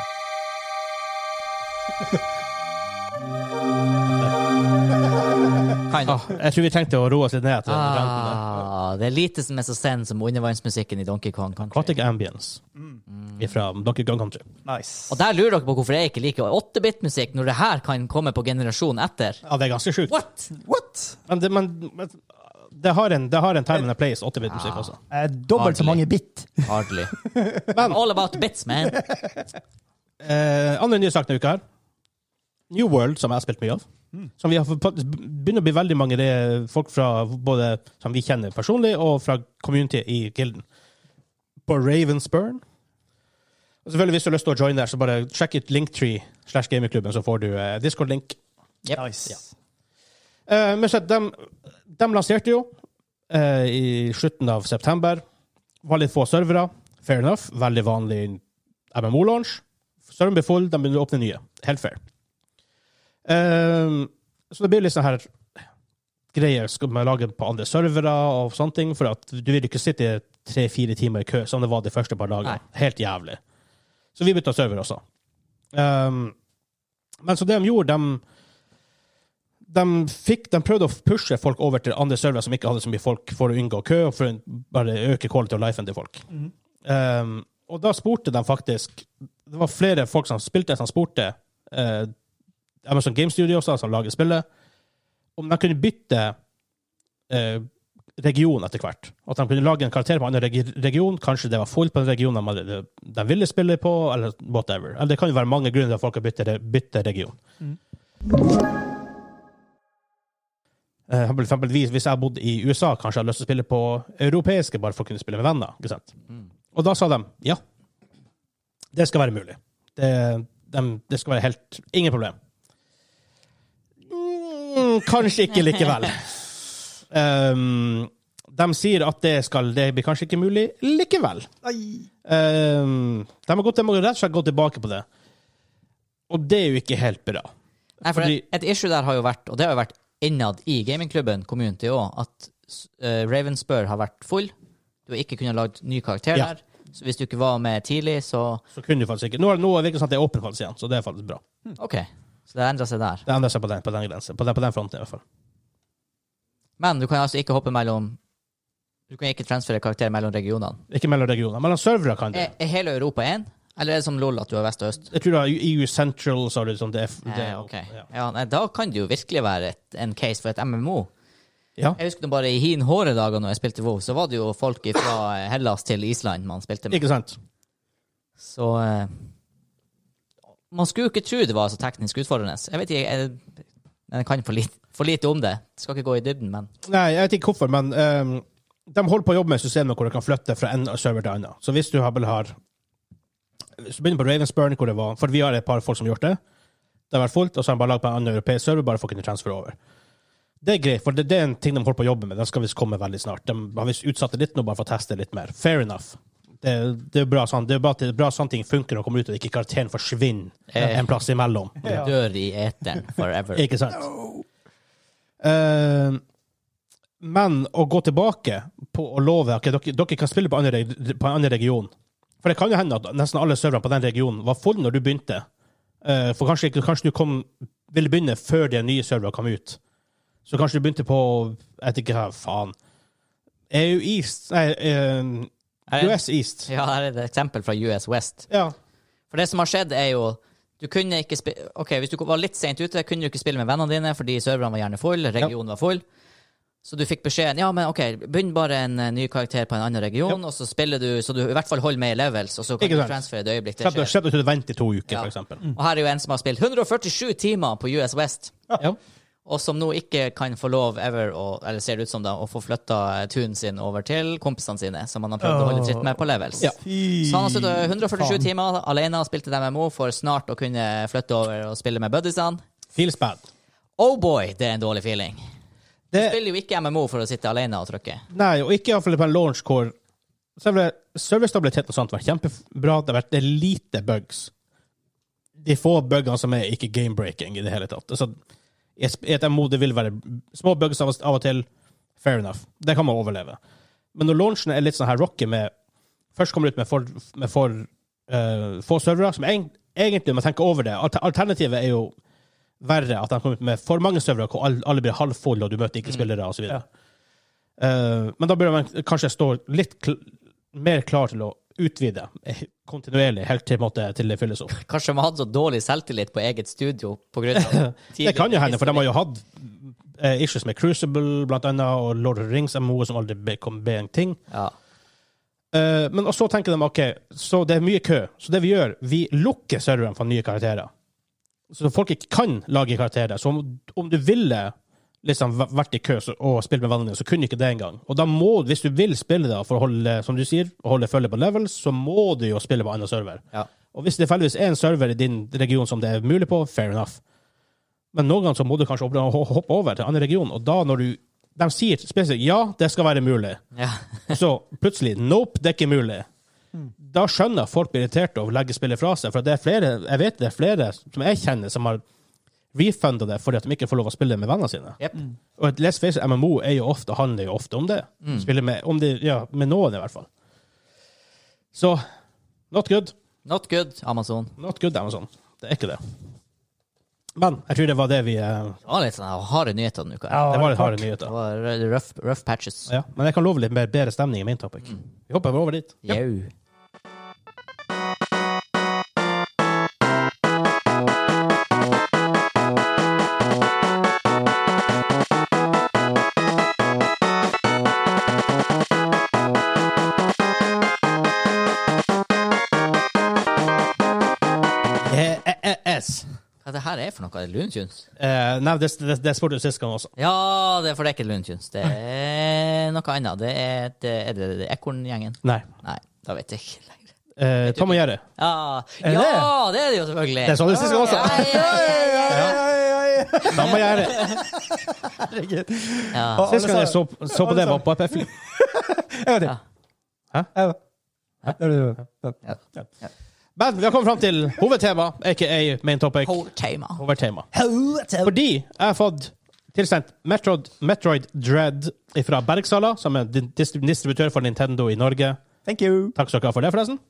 Speaker 1: Kind of.
Speaker 3: Ah, jeg tror vi trengte å roe oss litt ned. etter den renten der.
Speaker 1: Ah, det er lite som er så send som undervannsmusikken i Donkey Kong Country.
Speaker 3: Aquatic Ambience
Speaker 1: Mm.
Speaker 3: fra Donkey Kong Country.
Speaker 2: Nice.
Speaker 1: Og der lurer dere på hvorfor jeg ikke liker 8-bit-musikk, når det her kan komme på generasjonen etter.
Speaker 3: Ja, det er ganske sjukt.
Speaker 1: What?!
Speaker 2: What?
Speaker 3: Men det, men, men, det, har en, det har en time and a place, 8-bit-musikk
Speaker 1: Ah.
Speaker 3: også.
Speaker 2: Eh, dobbelt så
Speaker 1: Hardly.
Speaker 2: mange bit.
Speaker 1: Hardly. All about bits, man.
Speaker 3: Eh, andre nye saker denne uka her. New World, som jeg har spilt mye av. Som vi har fått- faktisk begynner å bli veldig mange det er folk fra både som vi kjenner personlig, og fra community i Gilden. På Ravensburn. Og selvfølgelig, hvis du har lyst til å joine der, så bare sjekk ut Linktree slash gamingklubben, så får du eh, Discord-link.
Speaker 1: Yep.
Speaker 2: Nice.
Speaker 3: Eh, men så at de, de lanserte jo eh, i slutten av september. Var litt få servere. Fair enough. Veldig vanlig MMO-launch. Serveren ble full, de begynner å åpne nye. Helt fair. Eh, så det blir litt sånn her greier skal man lage på andre servere og sånne ting, for at du vil ikke sitte tre-fire timer i kø, som det var de første par dagene.
Speaker 1: Nei.
Speaker 3: Helt jævlig. Så vi bytta server også. Eh, men så det de gjorde, de de, fikk, de prøvde å pushe folk over til andre servere som ikke hadde så mye folk, for å unngå kø og for å bare øke quality of life-en til folk. Um, og da spurte de faktisk Det var flere folk som spilte, som spurte eh, Amazon Game Studio, også, som lager spillet, om de kunne bytte eh, region etter hvert. At de kunne lage en karakter på en annen regi- region. Kanskje det var fullt på den regionen de, hadde- de ville spille på, eller whatever. Eller det kan jo være mange grunner til at folk har byttet re- byttet region. Eh, For eksempel, hvis hvis jeg bodde i USA, kanskje jeg hadde lyst til å spille på europeiske bare for å kunne spille med venner. ikke sant? Og da sa de ja, det skal være mulig. Det, dem- det skal være helt Ingen problem. Mm, kanskje ikke likevel. um, de sier at det, skal, det blir kanskje ikke mulig likevel.
Speaker 2: Ai.
Speaker 3: Um, de har gått, de har rett og slett gått tilbake på det. Og det er jo ikke helt bra.
Speaker 1: Nei, for
Speaker 3: Fordi-
Speaker 1: et, et issue der har jo vært, og det har jo vært innad i gamingklubben, community òg, at uh, Ravenspur har vært full. Du har ikke kunnet lage ny karakter
Speaker 3: Ja.
Speaker 1: der. Så hvis du ikke var med tidlig, så
Speaker 3: Så kunne du faktisk ikke. Nå, er- nå virker det som at det er åpent faktisk igjen, så det er faktisk bra.
Speaker 1: OK. Så det endra seg der.
Speaker 3: Det endrer seg på den, på den grensen. På den, på den fronten, i hvert fall.
Speaker 1: Men du kan altså ikke hoppe mellom Du kan ikke transfere karakter mellom regionene.
Speaker 3: Ikke mellom regioner. Mellom servere kan du.
Speaker 1: Er, er hele Europa én, eller er det som LOL at du har vest og øst?
Speaker 3: Jeg tror du har EU Central, så har du sånn det, er- det,
Speaker 1: Eh,
Speaker 3: er-
Speaker 1: ok.
Speaker 3: ja.
Speaker 1: ja, nei, da kan det jo virkelig være et, en case for et MMO.
Speaker 3: Ja.
Speaker 1: Jeg husker nå bare i hin håre dager når jeg spilte WoW, så var det jo folk fra Hellas til Island man spilte med.
Speaker 3: Ikke sant?
Speaker 1: Så eh, Man skulle jo ikke tro det var så teknisk utfordrende. Jeg vet ikke, jeg, jeg kan for lite, for lite om det. Skal ikke gå i dybden, men
Speaker 3: Nei, jeg vet ikke hvorfor, men ehm, de holder på å jobbe med systemet hvor du kan flytte fra en server til annen. Så hvis du har, har Så begynner på Ravensburn, hvor det var For vi har et par folk som har gjort det. Det har vært fullt, og så har de bare lagd på en annen europeisk server bare for å kunne transfere over. Det er greit, for det, det er en ting de holder på å jobbe med. Den skal visst komme veldig snart. De har visst utsatt det litt nå bare for å teste litt mer. Fair enough. Det, det er bra sånn, det er bra at det er bra sånne ting funker og kommer ut, og ikke karakteren forsvinner
Speaker 1: Eh.
Speaker 3: en plass imellom.
Speaker 2: Ja.
Speaker 1: dør i eteren forever.
Speaker 3: Ikke sant? Eh, men å gå tilbake på å love at dere, dere kan spille på en annen reg- på en annen region For det kan jo hende at nesten alle serverne på den regionen var fulle når du begynte. Eh, for kanskje, ikke- kanskje du kom, ville begynne før de nye serverne kom ut. Så kanskje du begynte på Jeg vet ikke hva faen. EU East Nei, eh,
Speaker 1: Er det-
Speaker 3: US East.
Speaker 1: Ja, her er det et eksempel fra US West.
Speaker 3: Ja.
Speaker 1: For det som har skjedd, er jo du kunne ikke spille, ok, Hvis du var litt sent ute, kunne du ikke spille med vennene dine fordi serverne var gjerne full, regionen var full. Så du fikk beskjeden ja, men ok, begynn bare en eh, ny karakter på en annen region, og så spiller du, så du i hvert fall holder med i levels, og så kan
Speaker 3: Ikke
Speaker 1: du
Speaker 3: sant.
Speaker 1: transfere det øyeblikk det
Speaker 3: Slipp
Speaker 1: skjer.
Speaker 3: slipp at du venter i to uker,
Speaker 1: Ja. Mm.
Speaker 3: for eksempel.
Speaker 1: Og her er jo en som har spilt 147 timer på US West,
Speaker 3: Ja.
Speaker 1: og som nå ikke kan få lov ever, å, eller ser det ut som da, å få flytta eh, tunen sin over til kompisene sine, som han har prøvd å holde tritt med på levels.
Speaker 3: Ja.
Speaker 1: Så han har sittet 147 timer alene og spilt et MMO for snart å kunne flytte over og spille med buddiesene.
Speaker 3: Feels bad.
Speaker 1: Oh boy, det er en dårlig feeling. Du
Speaker 3: Det-
Speaker 1: spiller jo ikke MMO for å sitte alene og trykke.
Speaker 3: Nei, og ikke iallfall på en launch hvor selve serverstabiliteten og sånt har vært kjempebra. Det har vært det er lite bugs. De få bugene som er ikke game-breaking i det hele tatt. Altså, i et sp- i et MMO det vil være små bugs av og av og til. Fair enough. Det kan man overleve. Men når launchen er litt sånn her rocky med Først kommer det ut med for, med for eh, få servere, som eng- egentlig, når man tenker over det alter- Alternativet er jo verre, at de kommer ut med for mange servere hvor alle, alle blir halvfulle, og du møter ikke spillere, osv.
Speaker 2: Ja.
Speaker 3: videre Eh, men da bør man kanskje stå litt kl mer klar til å utvide eh, kontinuerlig, helt til, på en måte, til det fylles opp.
Speaker 1: Kanskje de har hatt så dårlig selvtillit på eget studio på grunn av
Speaker 3: Det kan jo hende, for de har jo hatt eh, issues med Crucible blant annet, og Lord of the Rings, MMO, som aldri ble- kom ble en ting.
Speaker 1: ja.
Speaker 3: Eh, men og så tenker de ok, så det er mye kø. Så det vi gjør, vi lukker serveren for nye karakterer. Så folk ikke kan lage karakterer. Så om, om du ville liksom væ- vært i kø så, og spilt med vennene dine, så kunne ikke det engang. Og da må, hvis du vil spille da, for å holde, som du sier, å holde følge på levels, så må du jo spille på annen server.
Speaker 1: Ja.
Speaker 3: Og hvis det tilfeldigvis er en server i din region som det er mulig på, fair enough. Men noen ganger så må du kanskje opp- hoppe over til en annen region, og da når du De sier spesifikt ja, det skal være mulig.
Speaker 1: Ja.
Speaker 3: Og så plutselig Nope, det er ikke mulig. Da skjønner jeg at folk blir irriterte og legger spillet fra seg. For det er flere, jeg vet det er flere som jeg kjenner, som har refunda det fordi at de ikke får lov å spille med vennene sine.
Speaker 1: Jep.
Speaker 3: Og et Let's Face It, MMO er jo ofte, handler jo ofte om det. Spiller med, om det, ja, med noen, i hvert fall. Så not good.
Speaker 1: Not good, Amazon.
Speaker 3: Not good, Amazon. Det er ikke det. Men jeg tror det var det vi eh,
Speaker 1: Det var litt sånn her harde nyheter denne uka.
Speaker 3: Det var litt harde
Speaker 2: hardt.
Speaker 1: Det
Speaker 3: nyheter.
Speaker 1: var rough, rough patches.
Speaker 3: Ja, men jeg kan love litt mer bedre stemning i min topic. Vi hopper over dit.
Speaker 1: Jau.
Speaker 3: Eh, Yes.
Speaker 1: Hva det her er for noe? Er det Luntjuns?
Speaker 3: Eh, nei, det, det, det spurte du sist gang også.
Speaker 1: Ja, det er for det er ikke Luntjuns. Det er noe annet. Det er, det, er det, det er Ekorngjengen.
Speaker 3: Nei.
Speaker 1: Nei, da vet jeg ikke lenger.
Speaker 3: Eh, Tom og Jerry.
Speaker 1: Ja,
Speaker 2: Er det?
Speaker 1: ja det er det jo selvfølgelig.
Speaker 3: Det sånn, altså. sa du sist gang også.
Speaker 1: Ja, ja, ja, ja.
Speaker 2: Oi, oi, oi.
Speaker 3: Tom og Jerry.
Speaker 2: Herregud.
Speaker 1: Ja.
Speaker 2: Og
Speaker 3: Sist gang
Speaker 2: alle
Speaker 3: jeg
Speaker 2: sa-
Speaker 3: så, så på det, var på Epifli.
Speaker 2: En gang til.
Speaker 3: Hæ?
Speaker 2: Ja. Det er det.
Speaker 3: Men vi har kommet fram til hovedtema, aka main topic.
Speaker 1: Holdtema.
Speaker 3: Hovedtema.
Speaker 2: Hotel.
Speaker 3: Fordi jeg har fått tilsendt Metroid, Metroid Dread fra Bergsala, som er din- dis- distributør for Nintendo i Norge.
Speaker 2: Thank you.
Speaker 3: Takk skal dere ha for det, forresten.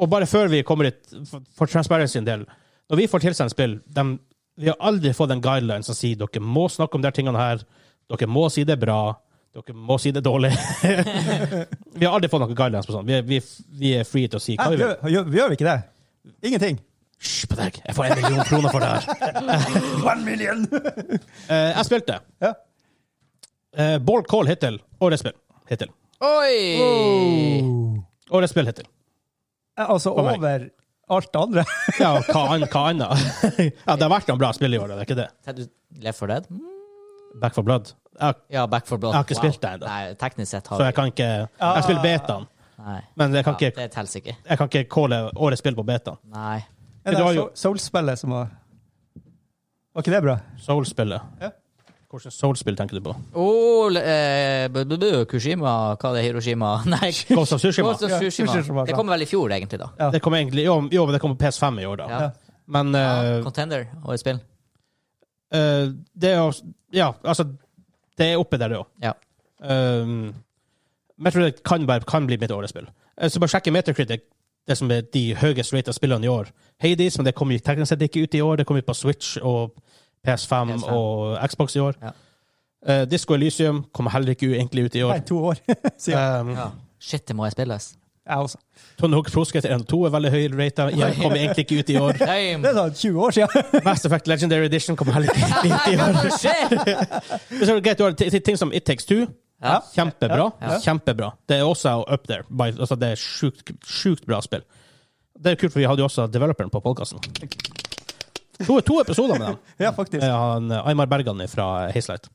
Speaker 3: Og bare før vi kommer dit, for, for transparency en del Når vi får tilsendt spill dem- Vi har aldri fått en guideline som sier dere må snakke om de tingene her. Dere må si det bra. Dere må si det dårlig. vi har aldri fått noen guidelines på sånt. Vi, er- vi, er- vi er free til å si hva
Speaker 2: Hæ,
Speaker 3: vi vil.
Speaker 2: gjør, gjør, gjør vi ikke det? Ingenting.
Speaker 3: Hysj på deg! Jeg får en million kroner for det her.
Speaker 2: One million!
Speaker 3: Eh, jeg spilte.
Speaker 2: ja.
Speaker 3: Uh, Ball Call hittil. Årets spill hittil.
Speaker 1: Oi!
Speaker 2: Oh.
Speaker 3: Årets spill hittil.
Speaker 2: Eh, Altså
Speaker 3: For meg.
Speaker 2: over alt det andre.
Speaker 3: Ja, hva, an hva annet? ja, det har vært noen bra spill i år, det er ikke det?
Speaker 1: Ser du Left 4 Dead? Mm.
Speaker 3: Back for blood. Jeg
Speaker 1: Ja, Back 4 Blood.
Speaker 3: Jeg har ikke spilt det ennå.
Speaker 1: Nei, teknisk sett har
Speaker 3: Så jeg kan ikke Jeg spiller betaen,
Speaker 1: Nei.
Speaker 3: men jeg kan
Speaker 1: Ja,
Speaker 3: ikke,
Speaker 1: det teller ikke.
Speaker 3: jeg kan ikke calle årets spill på betaen.
Speaker 1: Nei.
Speaker 2: Er
Speaker 3: Du
Speaker 2: det
Speaker 3: har
Speaker 2: so
Speaker 3: jo-
Speaker 2: Soul-spillet som var Var ikke det bra?
Speaker 3: Soul-spillet.
Speaker 2: Ja.
Speaker 3: Hvilket Soul-spill tenker du på?
Speaker 1: Oh, eh, bu- bu- bu- Kushima Hva det er Hiroshima? Nei,
Speaker 3: Ghost of Tsushima.
Speaker 1: Ghost of
Speaker 2: Ja,
Speaker 1: Tsushima.
Speaker 2: Tsushima,
Speaker 1: Det
Speaker 2: bra.
Speaker 1: kom vel i fjor, egentlig, da.
Speaker 2: Ja.
Speaker 3: Det kom egentlig Jo, jo men det kom på PS5 i år, da.
Speaker 1: Ja.
Speaker 3: Men eh,
Speaker 1: Contender og et spill.
Speaker 3: eh, det er jo Ja, altså Det er oppe der, det òg.
Speaker 1: Ja.
Speaker 3: Um, Metroid kan, være- kan bli mitt årets spill. Eh, Så bare sjekke Metacritic, det som er de høyest rated spillene i år. Hades, men det kom jo teknisk sett ikke ut i år. Det kom ut på Switch og PS5,
Speaker 1: PS5.
Speaker 3: og Xbox i år.
Speaker 1: Ja.
Speaker 3: Eh, Disco Elysium kom heller ikke u- egentlig ut i år.
Speaker 2: Nei, to år siden.
Speaker 3: Um,
Speaker 1: Shit, det må jeg spilles.
Speaker 2: Jeg også.
Speaker 3: Tony Hawk Pro Skater 1 og 2 er veldig høy rata. Jeg kommer egentlig ikke ut i år.
Speaker 2: Det
Speaker 1: Damn!
Speaker 2: er sånn 20 år siden.
Speaker 3: Mass Effect Legendary Edition kommer heller ikke ut i år.
Speaker 1: Hva skjer?
Speaker 3: Men så er det greit, du har t- t- ting som It Takes Two.
Speaker 1: Ja.
Speaker 3: Kjempebra.
Speaker 1: Ja, ja.
Speaker 3: Kjempebra. Det er også up there. By, altså, det er sjukt, sjukt bra spill. Det er kult, for vi hadde jo også developeren på podkasten. To, to episoder med dem.
Speaker 2: Ja, faktisk.
Speaker 3: Eh, Han, eh, Aymar Bergan fra Hazelight.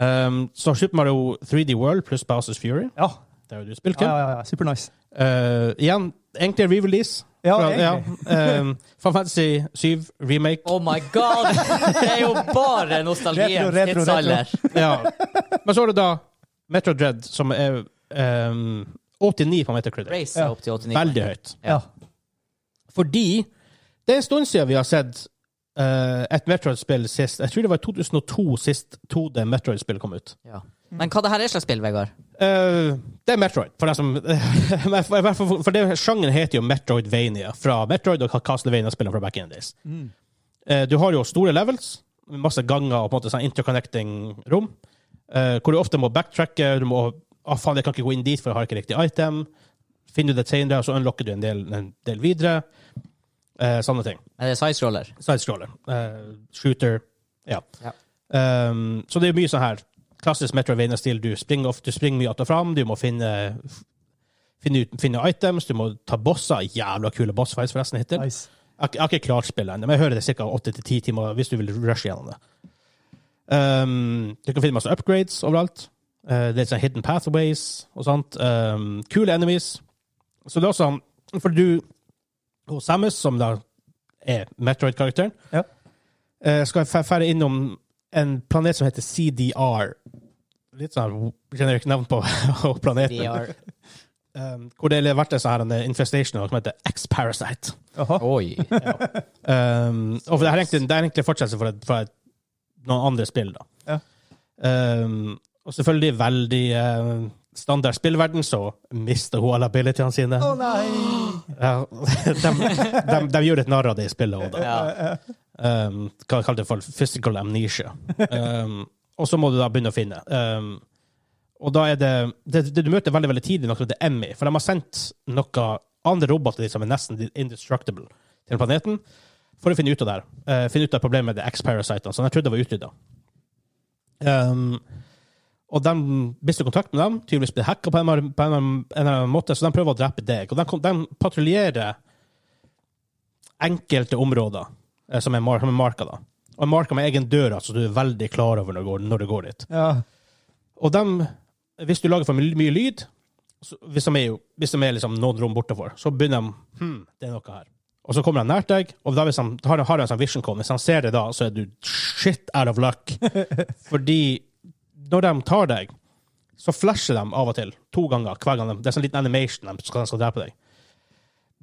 Speaker 3: Um, så Super Mario 3D World pluss Bowsers Fury.
Speaker 2: Ja,
Speaker 3: Det har jo du spilt,
Speaker 2: ja,
Speaker 3: Kim.
Speaker 2: ja. ja, ja. Super nice.
Speaker 3: Eh, igjen, egentlig re-release.
Speaker 2: Ja,
Speaker 3: Fra-
Speaker 2: egentlig.
Speaker 3: ja. Um, Final Fantasy 7 remake.
Speaker 1: Oh my god! Det er jo bare
Speaker 2: Retro,
Speaker 1: nostalgiens
Speaker 2: retro, retro.
Speaker 1: tidsalder.
Speaker 3: Ja. Men så har du da Metro Dread, som er um, 89 på Metacritic.
Speaker 1: Race er opp til 89.
Speaker 3: Veldig høyt.
Speaker 1: Ja.
Speaker 2: Ja.
Speaker 3: Fordi det er en stund siden vi har sett eh, et Metroid-spill sist. Jeg tror det var i 2002 sist 2D Metroid-spill kom ut.
Speaker 1: Ja. Men hva det her er slags spill, Vegard?
Speaker 3: Eh, det er Metroid, for den som For, for- for, for det, sjangeren heter jo Metroidvania, fra Metroid og Castlevania-spillene fra back in the days.
Speaker 2: Mm.
Speaker 3: Eh, du har jo store levels, med masse ganger og på en måte sånn interconnecting rom, eh, hvor du ofte må backtracke. Du må ah, faen, jeg kan ikke gå inn dit, for jeg har ikke riktig item. Finner du det senere, så unlocker du en del, en del videre. Eh, sånne ting.
Speaker 1: Er det side-scroller?
Speaker 3: Sidescroller. Eh, shooter. Ja.
Speaker 1: Ja.
Speaker 3: Ehm, så det er mye sånn her klassisk Metrovania-stil. Du springer ofte, du springer mye att og fram, du må finne finne, ut, finne items, du må ta bosser. Jævla kule bossfights, forresten, hittil. Jeg,
Speaker 2: Nice.
Speaker 3: har ikke- jeg har ikke klart spillet ennå, men jeg hører det er ca. 8-10 timer hvis du vil rushe gjennom det. Ehm, du kan finne masse upgrades overalt. Eh, det er sånn hidden pathways og sånt. Ehm, kule enemies. Så det er også sånn, For du og Samus, som da er Metroid-karakteren,
Speaker 2: Ja.
Speaker 3: eh, skal fe- fære innom en planet som heter CDR. Litt sånn generelt navn på på planeten.
Speaker 1: VR.
Speaker 3: Um, hvor det har vært en sånn her, en infestation som heter X-Parasite.
Speaker 2: Jaha.
Speaker 1: Oi.
Speaker 3: Um, og for det, her er egentlig, det er egentlig en fortsettelse for, et, for et, noen andre spill, da.
Speaker 2: Ja.
Speaker 3: Um, og selvfølgelig veldig eh, standard spillverden, så mister hun alle abilityene sine.
Speaker 2: Å nei!
Speaker 3: Ja, de, de, de gjør et narr av det i spillet òg, da.
Speaker 1: Ja.
Speaker 3: Um, hva kaller det for physical amnesia. Um, og så må du da begynne å finne. Um, og da er det, det, det du møter veldig veldig tidlig, noe som heter Emmy. For de har sendt noen andre roboter dit som er nesten indestructible, til planeten for å finne ut av det her. Eh, finne ut av problemet med de X-parasitene, som jeg trodde var utrydda. Um, og de mister kontakt med dem, tydeligvis blir hacka på en eller annen- på en eller annen- en eller annen måte, så de prøver å drepe deg. Og de, kom- de patruljerer enkelte områder eh, som er, mar som er marka, da. Og marka med egen dør, altså, så du er veldig klar over når du går, når du går dit.
Speaker 2: Ja.
Speaker 3: Og dem, hvis du lager for my- mye lyd, så, hvis de er, jo, hvis de er liksom noen rom bortenfor, så begynner de Hm, det er noe her. Og så kommer de nært deg, og da hvis de, har, har de en sånn vision call. Hvis de ser det da, så er du shit out of luck. Fordi når de tar deg, så flasher de av og til. To ganger hver gang. De, det er sånn liten animation de skal, de skal drepe deg.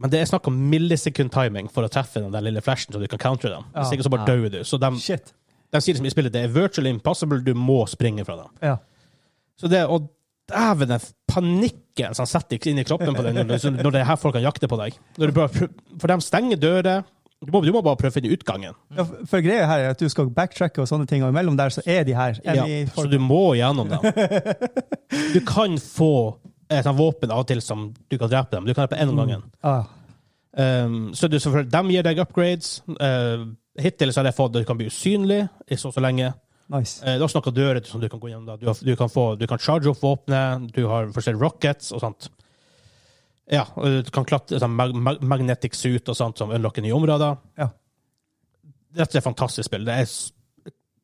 Speaker 3: Men det er snakk om millisekund-timing for å treffe den der lille flashen, så du kan counter dem. Hvis
Speaker 2: Ja.
Speaker 3: ikke så bare
Speaker 1: Ja.
Speaker 3: dør du. Så de,
Speaker 2: Shit.
Speaker 3: de sier liksom i spillet det er virtually impossible, du må springe fra dem.
Speaker 2: Ja.
Speaker 3: Så det å Dæven, den panikken som setter inn i kroppen på deg når, du- når det er her folkene jakter på deg. Når du bare, prø- for de stenger dører. Du må, du må bare prøve å finne utgangen.
Speaker 2: Ja, for- for greia her er at du skal backtracke og sånne ting, og imellom der så er de her.
Speaker 3: Ja,
Speaker 2: Enemy
Speaker 3: så
Speaker 2: folk.
Speaker 3: du må gjennom dem. Du kan få et sånt våpen av og til som du kan drepe dem. Du kan drepe én om gangen.
Speaker 2: Ah,
Speaker 3: Um, så du, selvfølgelig- de gir deg upgrades. Uh, hittil så har jeg fått at du kan bli usynlig i så og så lenge.
Speaker 2: nice.
Speaker 3: Eh, Det er også noen dører som du kan gå gjennom. Da. Du, har, du, kan få, du kan charge opp våpenet, du har forskjellige rockets og sånt. Ja, og du kan klatre sånn mag mag magnetic suit og sånt som unlocker nye områder.
Speaker 2: Ja.
Speaker 3: Dette er et fantastisk spill. Det er, s-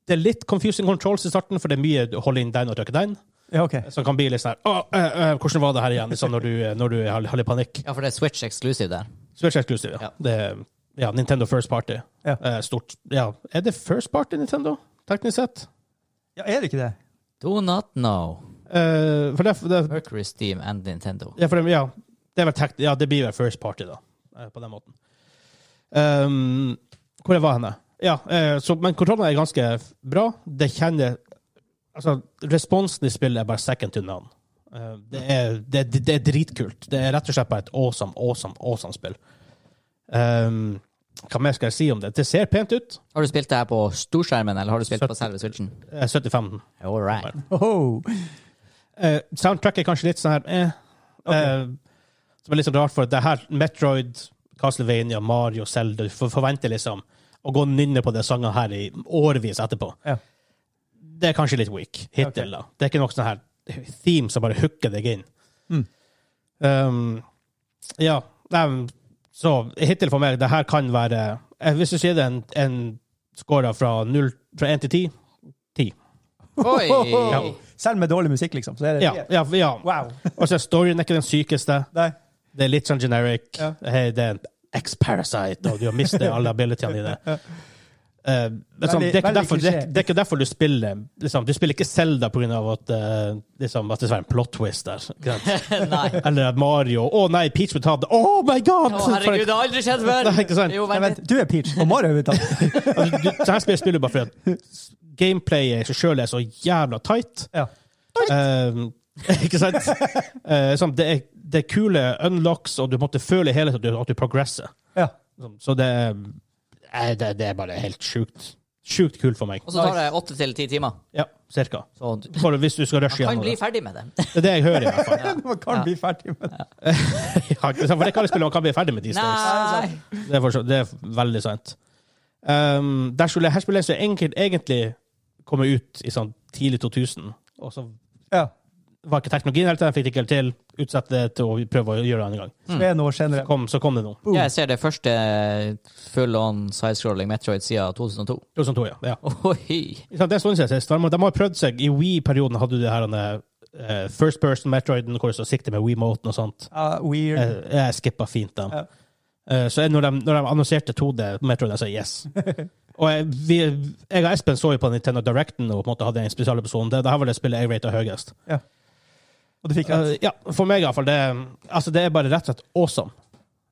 Speaker 3: det er litt confusing controls i starten, for det er mye du holder inn den og trykker den,
Speaker 2: Ja, OK.
Speaker 3: som kan bli litt sånn her «Åh, øh, øh, Hvordan var det her igjen? Sånn når du, når du har, har litt panikk.
Speaker 1: ja, for det er Switch exclusive der.
Speaker 3: Switch Exclusive,
Speaker 1: Ja.
Speaker 3: ja. Det er, ja Nintendo First Party.
Speaker 2: Ja.
Speaker 3: Eh, Stort. Ja. Er det First Party Nintendo, teknisk sett?
Speaker 2: Ja, er det ikke det?
Speaker 1: Do not know.
Speaker 3: Eh, for det, det,
Speaker 1: Mercury Steam and Nintendo.
Speaker 3: Ja, for det, ja, det, er vel takt, ja, det blir vel first party, da. eh, På den måten. Ehm, hvor jeg var henne? Ja, eh, så, men kontrollene er ganske f- bra. Det kjenner Altså, responsen i spillet er bare second to none. Eh, det, er, det, det, det er dritkult. Det er rett og slett bare et awesome, awesome, awesome spill. Ehm, hva mer skal jeg si om det? Det ser pent ut.
Speaker 1: Har du spilt det her på storskjermen, eller har du spilt på selve Switchen?
Speaker 3: Eh, 75.
Speaker 1: All right.
Speaker 2: Oho.
Speaker 3: Eh, soundtrack er kanskje litt sånn her eh. Eh, Som er litt sånn rart, for at det her, Metroid, Castlevania, Mario, Zelda Du for, forventer liksom å gå og nynne på de sangene her i årevis etterpå.
Speaker 2: Ja.
Speaker 3: Det er kanskje litt weak hittil.
Speaker 2: Ok.
Speaker 3: da. Det er ikke nok sånn her theme som bare hooker deg inn.
Speaker 2: Mm.
Speaker 3: Um, ja. Nei, så hittil for meg, det her kan være eh, Hvis du sier det en, en score fra, 0, fra 1 til 10
Speaker 1: Oi!
Speaker 2: Ja. Selv med dårlig musikk, liksom. Så er det
Speaker 3: Ja. ja, ja.
Speaker 2: Wow.
Speaker 3: Og så er storyen ikke den sykeste.
Speaker 2: Nei.
Speaker 3: Det er litt sånn generic.
Speaker 2: Ja.
Speaker 3: Hey, det er en X-parasite, og du har mistet alle abilityene dine. Eh, det, er sånn,
Speaker 2: Veldig-
Speaker 3: det, er ikke
Speaker 2: veldig
Speaker 3: derfor, det, er,
Speaker 2: klisjé.
Speaker 3: det er ikke derfor du spiller liksom, Du spiller ikke Zelda på grunn av at, eh, liksom, at det er en plot twist der. ikke sant?
Speaker 1: Nei.
Speaker 3: Eller at Mario Å nei, Peach vil ta det! Oh my god!
Speaker 1: Å, herregud, det har aldri skjedd før!
Speaker 3: Nei, ikke sant.
Speaker 1: Jo,
Speaker 2: Nei,
Speaker 1: vent
Speaker 2: vent,
Speaker 1: litt.
Speaker 2: du er Peach, og Mario er ute.
Speaker 3: Altså, du, så her spiller spiller du bare fordi at gameplayet i seg sjøl er så jævla tight.
Speaker 2: Ja.
Speaker 3: Eh, ikke sant? Eh, sånn, det, er, det er kule unlocks, og du måtte føle hele tiden at du, at du progresser.
Speaker 2: Ja.
Speaker 3: Sånn, Så det, er- eh, det, det er bare helt sjukt. Sjukt kult for meg.
Speaker 1: Og så tar det åtte til ti timer.
Speaker 3: Ja, cirka.
Speaker 1: Så du
Speaker 3: For hvis du skal rushe
Speaker 1: kan
Speaker 3: gjennom
Speaker 1: bli
Speaker 3: det.
Speaker 1: ferdig med det.
Speaker 3: Det er det jeg hører, i hvert fall.
Speaker 2: Man kan
Speaker 1: Ja.
Speaker 2: bli ferdig med det.
Speaker 3: Ja, ikke sant? for det kan jeg spille, man kan bli ferdig med these days.
Speaker 1: Nei!
Speaker 3: Det er, fortsatt, det er veldig sant. Um, der skulle, her skulle jeg så enkelt, egentlig komme ut i sånn tidlig 2000, og så
Speaker 2: Ja.
Speaker 3: var ikke teknologien helt der, fikk det ikke helt til. Utsette det til å prøve å gjøre det en gang.
Speaker 2: Så er det noe senere.
Speaker 3: Kom, så kom det nå.
Speaker 1: Ja, jeg ser det første full on sidescrolling Metroid siden 2002.
Speaker 3: 2002, ja. ja.
Speaker 1: Oi!
Speaker 3: Ikke sant, Det er sånn siden sist. De har- de har prøvd seg. I Wii-perioden hadde du det her eh, First Person Metroiden, hvor du så sikter med Wii-moten og sånt.
Speaker 2: Ja, weird.
Speaker 3: Jeg, jeg skippa fint dem.
Speaker 2: Ja.
Speaker 3: Eh, så jeg- når de, når de annonserte 2D Metroid, jeg sa yes. og jeg, vi, jeg og Espen så jo på Nintendo Directen og på en måte hadde en spesialepisode om det. Dette var det spillet jeg ratet høyest.
Speaker 2: Og du fikk rett.
Speaker 3: Eh, ja, for meg iallfall. Det, er- altså, det er bare rett og slett awesome.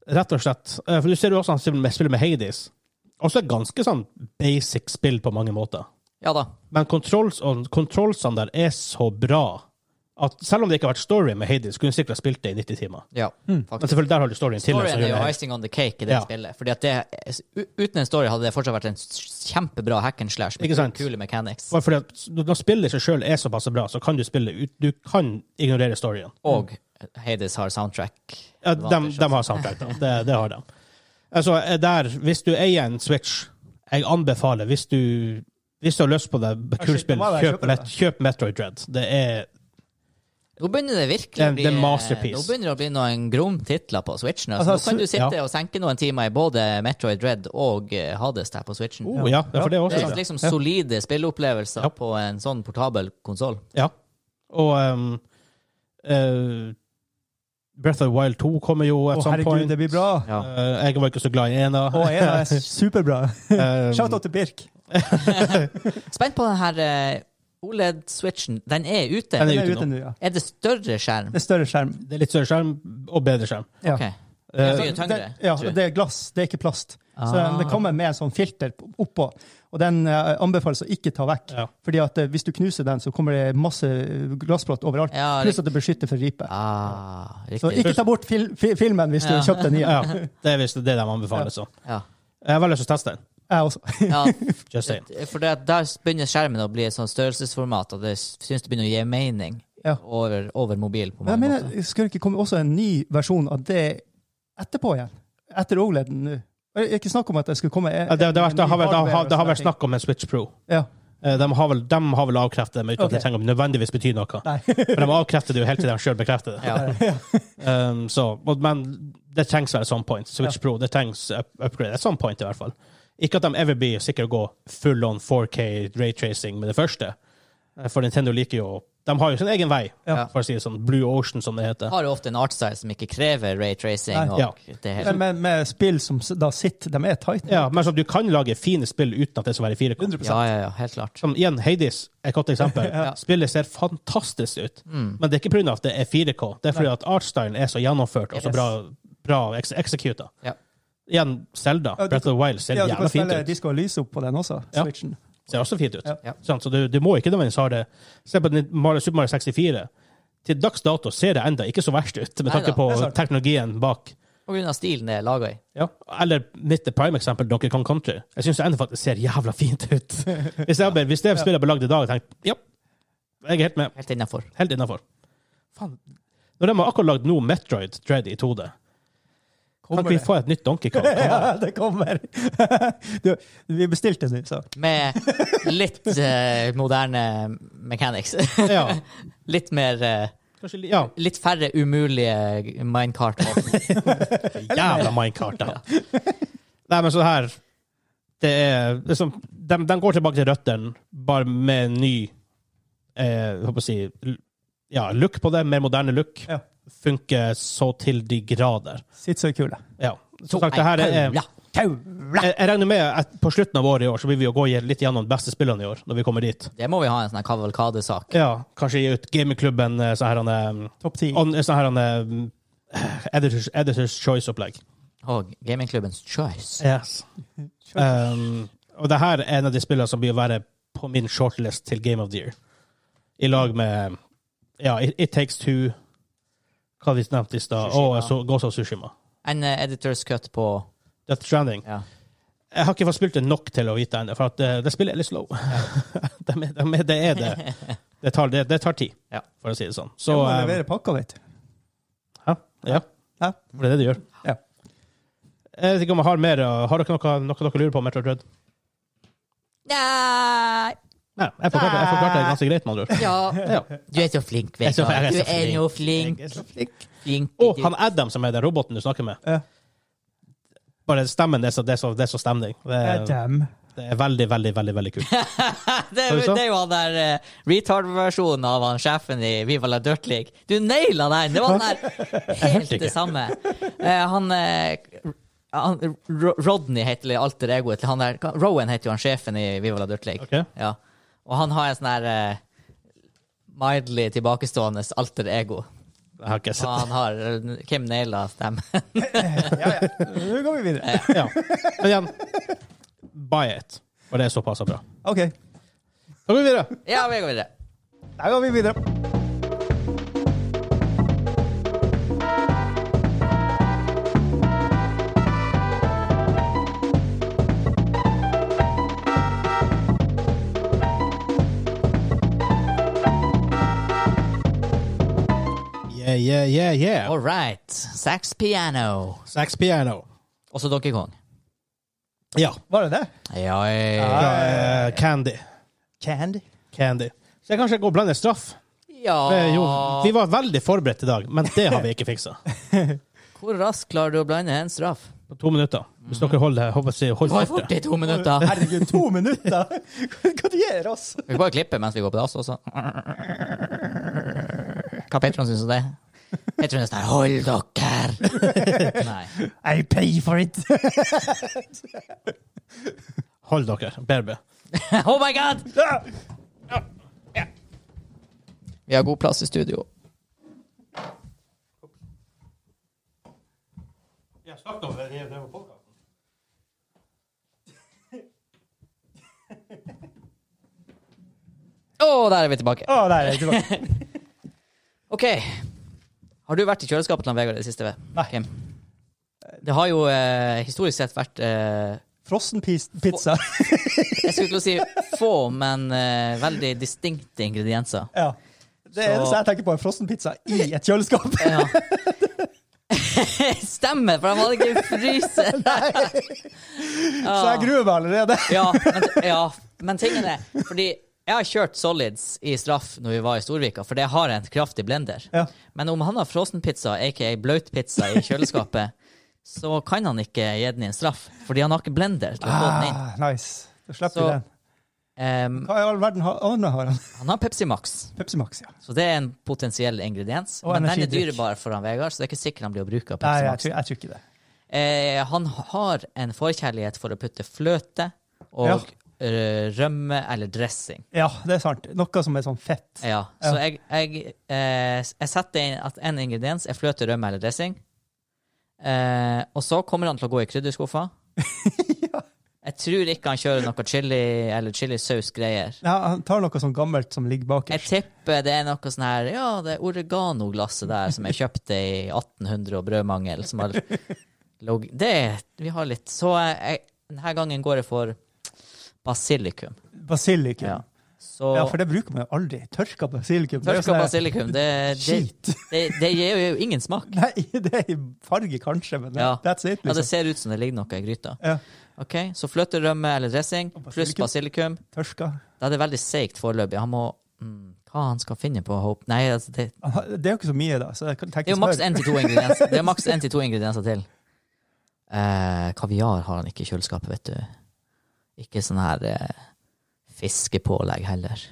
Speaker 3: Rett og slett. Eh, for du ser jo også han spiller med, spiller med Hades. Også et ganske sånn basic spill på mange måter.
Speaker 1: Ja da.
Speaker 3: Men controls og controlsene der er så bra at selv om det ikke har vært story med Hades, kunne du sikkert ha spilt det i 90 timer.
Speaker 1: Ja,
Speaker 3: Hmm. Men
Speaker 1: faktisk.
Speaker 3: selvfølgelig, der har du storyen til. og så
Speaker 1: Storyen
Speaker 3: gjør
Speaker 1: er
Speaker 3: det
Speaker 1: jo
Speaker 3: helt-
Speaker 1: icing on the cake i det
Speaker 3: Ja.
Speaker 1: spillet. Fordi at det, u- Uten en story hadde det fortsatt vært en s- kjempebra hack and slash med
Speaker 3: Ikke sant?
Speaker 1: kule mechanics.
Speaker 3: Bare fordi at Når spillet i seg sjøl er såpass bra, så kan du spille ut Du kan ignorere storyen.
Speaker 1: Og Hades har soundtrack.
Speaker 3: Ja, de, de har soundtrack, da. Det, det har de. Altså, eh, der, hvis du eier en Switch Jeg anbefaler, hvis du, hvis du har lyst på det,
Speaker 2: shit,
Speaker 3: kult spill,
Speaker 2: da må jeg
Speaker 3: kjøp,
Speaker 2: kjøpe det.
Speaker 3: Met- kjøp Metroid Dread. Det er
Speaker 1: Nå begynner det virkelig
Speaker 3: Det er-
Speaker 1: å bli
Speaker 3: det er masterpiece.
Speaker 1: Nå begynner det å bli noen grom titler på Switchen. Altså, nå
Speaker 2: Altså,
Speaker 1: kan du
Speaker 3: ja.
Speaker 1: sitte og senke noen timer i både Metroid Dread og eh, Hades der på Switchen.
Speaker 3: oh, ja, for det er
Speaker 1: Det
Speaker 3: også
Speaker 1: er
Speaker 3: sant.
Speaker 1: liksom solide spilleopplevelser
Speaker 3: Ja.
Speaker 1: på en sånn portabel konsoll.
Speaker 3: Ja. Og ehm, eh, Breath of the Wild 2 kommer jo
Speaker 2: Å,
Speaker 3: at some
Speaker 2: herregud,
Speaker 3: point.
Speaker 2: det blir bra.
Speaker 1: Ja.
Speaker 3: Eh, jeg var ikke så glad i ena.
Speaker 2: Å, en av er superbra.
Speaker 3: Ehm,
Speaker 2: Shout out til Birk.
Speaker 1: Spent på den her eh, OLED-switchen. Den er ute.
Speaker 3: Den
Speaker 2: Den
Speaker 1: Er,
Speaker 2: er
Speaker 3: ute
Speaker 2: ute
Speaker 3: nå.
Speaker 2: nå, ja.
Speaker 1: det større skjerm?
Speaker 2: Det er større skjerm.
Speaker 3: det er litt større skjerm og bedre skjerm.
Speaker 2: Ja.
Speaker 1: Ok.
Speaker 3: Eh,
Speaker 1: Det er mye tyngre.
Speaker 2: Det, ja,
Speaker 1: tror jeg.
Speaker 2: det er glass, det er ikke plast. Så
Speaker 1: Ah.
Speaker 2: det kommer med en sånn filter oppå, og den eh, anbefales å ikke ta vekk.
Speaker 3: Ja.
Speaker 2: Fordi at eh, hvis du knuser den, så kommer det masse eh, glassplast overalt.
Speaker 1: Ja,
Speaker 2: Pluss at det beskytter for ripe.
Speaker 1: Ah,
Speaker 2: Så
Speaker 1: riktig.
Speaker 2: ikke ta bort fil fi filmen hvis du
Speaker 1: Ja.
Speaker 2: har kjøpt den nye.
Speaker 3: Ja, det er visst det de anbefaler. Så.
Speaker 1: Ja.
Speaker 3: Jeg har veldig lyst til å teste den.
Speaker 2: Jeg også.
Speaker 1: ja.
Speaker 3: Just saying.
Speaker 1: For det, at der begynner skjermen å bli et sånt størrelsesformat, og det syns det begynner å gi mening
Speaker 2: Ja.
Speaker 1: over, over mobil. på
Speaker 2: Men jeg
Speaker 1: mange
Speaker 2: mener,
Speaker 1: måter.
Speaker 2: skulle det ikke komme også en ny versjon av det etterpå igjen? Etter OLED-en nå? Det er ikke snakk om at det skulle komme en-
Speaker 3: Ja, Det, det, har vært- det, har, vært- det, har,
Speaker 2: en
Speaker 3: det har vært
Speaker 2: ny hardware og sånne
Speaker 3: snakk om en Switch Pro.
Speaker 2: ting. Ja.
Speaker 3: Eh, De har vel, de har vel avkreftet det, men uten at det
Speaker 2: Ok.
Speaker 3: trenger å nødvendigvis bety noe.
Speaker 2: Nei.
Speaker 3: For de avkrefter det jo helt til de sjøl bekrefter det.
Speaker 1: Ja.
Speaker 3: Um, så, og- men det trengs vel at some point. Switch Pro det trengs up upgrade at some point, i hvert fall. Ikke at de ever blir sikre å gå full on 4K raytracing med det første. Eh, For Nintendo liker jo De har jo sin egen vei,
Speaker 1: Ja.
Speaker 3: for å si det sånn. Blue Ocean, som det heter.
Speaker 1: har jo ofte en artstyle som ikke krever raytracing.
Speaker 2: Nei.
Speaker 1: og
Speaker 3: Ja.
Speaker 1: det hele.
Speaker 2: Men med, med spill som s- da sitter, de er tight.
Speaker 3: Ja, men sånn, du kan lage fine spill uten at det skal være i 4K.
Speaker 2: 100
Speaker 1: Ja, ja, ja, helt klart.
Speaker 3: Som igjen, Hades er et godt eksempel.
Speaker 1: Ja.
Speaker 3: Spillet ser fantastisk ut,
Speaker 2: Mm.
Speaker 3: men det er ikke pga. at det er 4K. Det er fordi at artstylen er så gjennomført og så
Speaker 1: Yes.
Speaker 3: bra, bra eks executa.
Speaker 1: Ja.
Speaker 3: Igjen, Zelda,
Speaker 2: Ja, du
Speaker 3: Breath of the Wild, ser
Speaker 2: Ja, du kan
Speaker 3: jævla fint
Speaker 2: spille
Speaker 3: ut.
Speaker 2: Disco Elyse opp på den også.
Speaker 3: Ja.
Speaker 2: Switchen.
Speaker 3: Ser også fint ut.
Speaker 2: Ja.
Speaker 1: Ja.
Speaker 3: Sant? Så du, du må ikke nødvendigvis ha det Se på den- Mario- Super Mario 64. Til dags dato ser det enda ikke så verst ut, med tanke
Speaker 1: Neida,
Speaker 3: på
Speaker 2: det er sant.
Speaker 3: teknologien bak.
Speaker 1: På grunn av stilen det er laga i.
Speaker 3: Ja. Eller mitt prime eksempel, Donkey Kong Country. Jeg syns det enda faktisk ser jævla fint ut. Hvis, jeg, hvis det spillet ble lagd i dag, tenkte jeg ja, jeg er helt med.
Speaker 1: Helt innafor.
Speaker 3: Helt innafor. Faen. Når de har akkurat lagd nå Metroid Dread i 2D, kan
Speaker 2: Kommer
Speaker 3: ikke vi
Speaker 2: det?
Speaker 3: få et nytt Donkey Kong?
Speaker 2: Ja, det kommer. Du, vi bestilte nå, så.
Speaker 1: Med litt eh, moderne mechanics.
Speaker 3: Ja.
Speaker 1: litt mer eh,
Speaker 3: Kanskje, li- ja.
Speaker 1: Litt færre umulige minecart.
Speaker 3: Jævla minecart, da. Nei, men så her Det er liksom De, de går tilbake til røttene, bare med en ny eh, Hva skal jeg si l- Ja, look på det. Mer moderne look.
Speaker 2: Ja.
Speaker 3: Funker så til de grader.
Speaker 2: Sitt så kule.
Speaker 3: Ja. Som sagt, det her er jeg,
Speaker 1: Ja.
Speaker 2: Kule!
Speaker 3: jeg regner med at på slutten av året i år så vil vi jo gå litt gjennom de beste spillene i år, når vi kommer dit.
Speaker 1: Det må vi ha en sånn her kavalkadesak.
Speaker 3: Ja, Kanskje gi ut gamingklubben eh, sånn her han, eh,
Speaker 2: Topp ti.
Speaker 3: on- sånn her han, eh, Editors, editors Choice-opplegg.
Speaker 1: Og gamingklubbens choice.
Speaker 3: Yes. Um, og det her er en av de spillene som blir å være på min shortlist til Game of the Year. I lag med ja, It, It Takes Two, hva vi nevnte i stad, og
Speaker 1: Tsushima.
Speaker 3: så Ghost of Sushima.
Speaker 1: En eh, editors cut på
Speaker 3: Death Stranding.
Speaker 1: ja.
Speaker 3: Jeg har ikke fått spilt det nok til å vite ennå, for at eh, det spillet er litt slow. det, er- det er- det er det. Det tar, det, det tar tid,
Speaker 1: Ja.
Speaker 3: for å si det sånn.
Speaker 2: Du
Speaker 3: Så
Speaker 2: må
Speaker 3: um,
Speaker 2: levere pakka, vet du.
Speaker 3: ja, ja,
Speaker 2: Ja.
Speaker 3: det er det du gjør.
Speaker 2: Ja.
Speaker 3: Jeg vet ikke om jeg har mer. uh, Har dere noe, noe dere lurer på om Metroid Dread?
Speaker 1: Nei
Speaker 3: Nei, jeg forklarte jeg forklarte det ganske greit, med andre ord.
Speaker 1: Ja.
Speaker 3: Ja.
Speaker 1: Du er så flink,
Speaker 3: Jeg er så-
Speaker 1: Vegard.
Speaker 3: jeg er
Speaker 1: Du
Speaker 3: så
Speaker 1: er
Speaker 3: flink.
Speaker 1: jo flink.
Speaker 3: Jeg er så
Speaker 1: flink.
Speaker 3: Og han Adam, som er den roboten du snakker med.
Speaker 2: Ja.
Speaker 3: Bare stemmen, det er så, det er så, det er så stemning. Det er,
Speaker 2: Damn.
Speaker 3: det er veldig, veldig, veldig veldig kult.
Speaker 1: Det, er-
Speaker 3: Har du så?
Speaker 1: det er jo han der eh, retard-versjonen av han sjefen i Viva la Dirt League. Du naila den! Det var den der helt
Speaker 3: ikke.
Speaker 1: det samme. Eh, han, eh, han Ro- Rodney heter det alter egoet til han der. Rowan heter jo han sjefen i Viva la Dirt League.
Speaker 3: Ok.
Speaker 1: Ja. Og han har en sånn her eh, mildly tilbakestående alter ego.
Speaker 3: Jeg har ikke
Speaker 1: Og
Speaker 3: sett
Speaker 1: han har eh, Kim naila stemmen.
Speaker 2: Nå går vi videre.
Speaker 3: ja. Men igjen, buy it. Og det er såpass bra.
Speaker 2: OK.
Speaker 3: Da går vi videre.
Speaker 1: Ja, vi går videre.
Speaker 2: Da går vi videre.
Speaker 3: Yeah, yeah, yeah, yeah.
Speaker 1: All right. Sax piano.
Speaker 3: Sax piano.
Speaker 1: Også Donkey Kong.
Speaker 3: Ja.
Speaker 2: Var det det?
Speaker 1: Ja, ja.
Speaker 3: Fra eh, Candy.
Speaker 2: Candy.
Speaker 3: Candy. Så jeg kanskje går og blander straff. Eh, jo,
Speaker 1: Ah.
Speaker 3: vi var veldig forberedt i dag, men det har vi ikke fiksa.
Speaker 1: Hvor raskt klarer du å blande en straff?
Speaker 3: På to minutter. Hvis dere holder, holder,
Speaker 1: Det var
Speaker 3: holder
Speaker 1: jo fort i to minutter.
Speaker 2: Herregud, to minutter! Hva du gjør oss?
Speaker 1: Vi kan bare klippe mens vi går på dass også. Hva Petron syns om det? Petron er sånn her, Hold dere! Nei.
Speaker 2: I pay for it!
Speaker 3: Hold dere. BRB.
Speaker 1: Oh my god! Vi har god plass i studio.
Speaker 3: Jeg snakket om det i det podkasten.
Speaker 1: Å, der er vi tilbake.
Speaker 2: Å, nei, jeg er tilbake.
Speaker 1: OK. Har du vært i kjøleskapet til han Vegard i det siste?
Speaker 2: Nei.
Speaker 1: Kim? Det har jo eh, historisk sett vært eh,
Speaker 2: Frossen pis- pizza.
Speaker 1: Jeg skulle til å si få, men eh, veldig distinkte ingredienser.
Speaker 2: Ja. Det
Speaker 1: Så-
Speaker 2: eneste jeg tenker på, er frossen pizza i et kjøleskap.
Speaker 1: Ja. Stemmer, for de hadde ikke fryser.
Speaker 2: Så jeg gruer meg allerede.
Speaker 1: Ja, men, ja, men tingen er Fordi jeg har kjørt solids i straff når vi var i Storvika, for det har en kraftig blender.
Speaker 2: Ja.
Speaker 1: Men om han har frossenpizza, aka bløtpizza, i kjøleskapet, så kan han ikke gi den i en straff, fordi han har ikke blender til å få den inn.
Speaker 2: Ah, nice. Da slipper
Speaker 1: Så-
Speaker 2: vi den. Ah.
Speaker 1: Ehm,
Speaker 2: Hva i all verden har Anna har han?
Speaker 1: han har Pepsi Max,
Speaker 2: Pepsi Max, ja.
Speaker 1: så det er en potensiell ingrediens.
Speaker 2: Og
Speaker 1: men den er
Speaker 2: energidrikk.
Speaker 1: dyrebar for han Vegard, så det er ikke sikkert han blir å bruke av
Speaker 2: Nei,
Speaker 1: Pepsi
Speaker 2: jeg
Speaker 1: Max.
Speaker 2: tror, jeg tror ikke det.
Speaker 1: Eh, han har en forkjærlighet for å putte fløte og
Speaker 2: Ja.
Speaker 1: eh, rømme eller dressing.
Speaker 2: Ja, det er sant. Noe som er sånn fett.
Speaker 1: Ja. Så jeg, jeg, eh, jeg setter inn at en ingrediens er fløte, rømme eller dressing. Eh, og så kommer han til å gå i krydderskuffa. Jeg tror ikke han kjører noe chili eller chilisaus-greier.
Speaker 2: Ja, han tar noe sånn gammelt som ligger
Speaker 1: Jeg
Speaker 2: bakerst.
Speaker 1: tipper det er noe sånn her Ja, det oregano-glasset der som jeg kjøpte i 1800 og brødmangel, som har log... Det Vi har litt Så jeg, denne gangen går jeg for basilikum.
Speaker 2: Basilikum.
Speaker 1: Ja. Så
Speaker 2: Ja, for det bruker man jo aldri. Tørka basilikum. det er jo
Speaker 1: tørka
Speaker 2: sånn her-
Speaker 1: basilikum, det, det,
Speaker 2: Skit.
Speaker 1: det, det gir jo ingen smak.
Speaker 2: Nei, det er i farge kanskje, men
Speaker 1: Ja.
Speaker 2: that's it,
Speaker 1: Ja, det
Speaker 2: liksom.
Speaker 1: ser ut som det ligger noe i gryta.
Speaker 2: Ja.
Speaker 1: Ok, Så fløterømme eller dressing pluss basilikum.
Speaker 2: Tørka.
Speaker 1: Da er det veldig seigt foreløpig. Han må mm, Hva han skal finne på? Hope? Nei, altså, det,
Speaker 2: Det er jo ikke så mye, da. Så jeg kan
Speaker 1: det
Speaker 2: tenke
Speaker 1: er jo maks én til to ingredienser. Det er maks en til to ingredienser til. Eh, kaviar har han ikke i kjøleskapet, vet du. Ikke sånn her eh, fiskepålegg heller.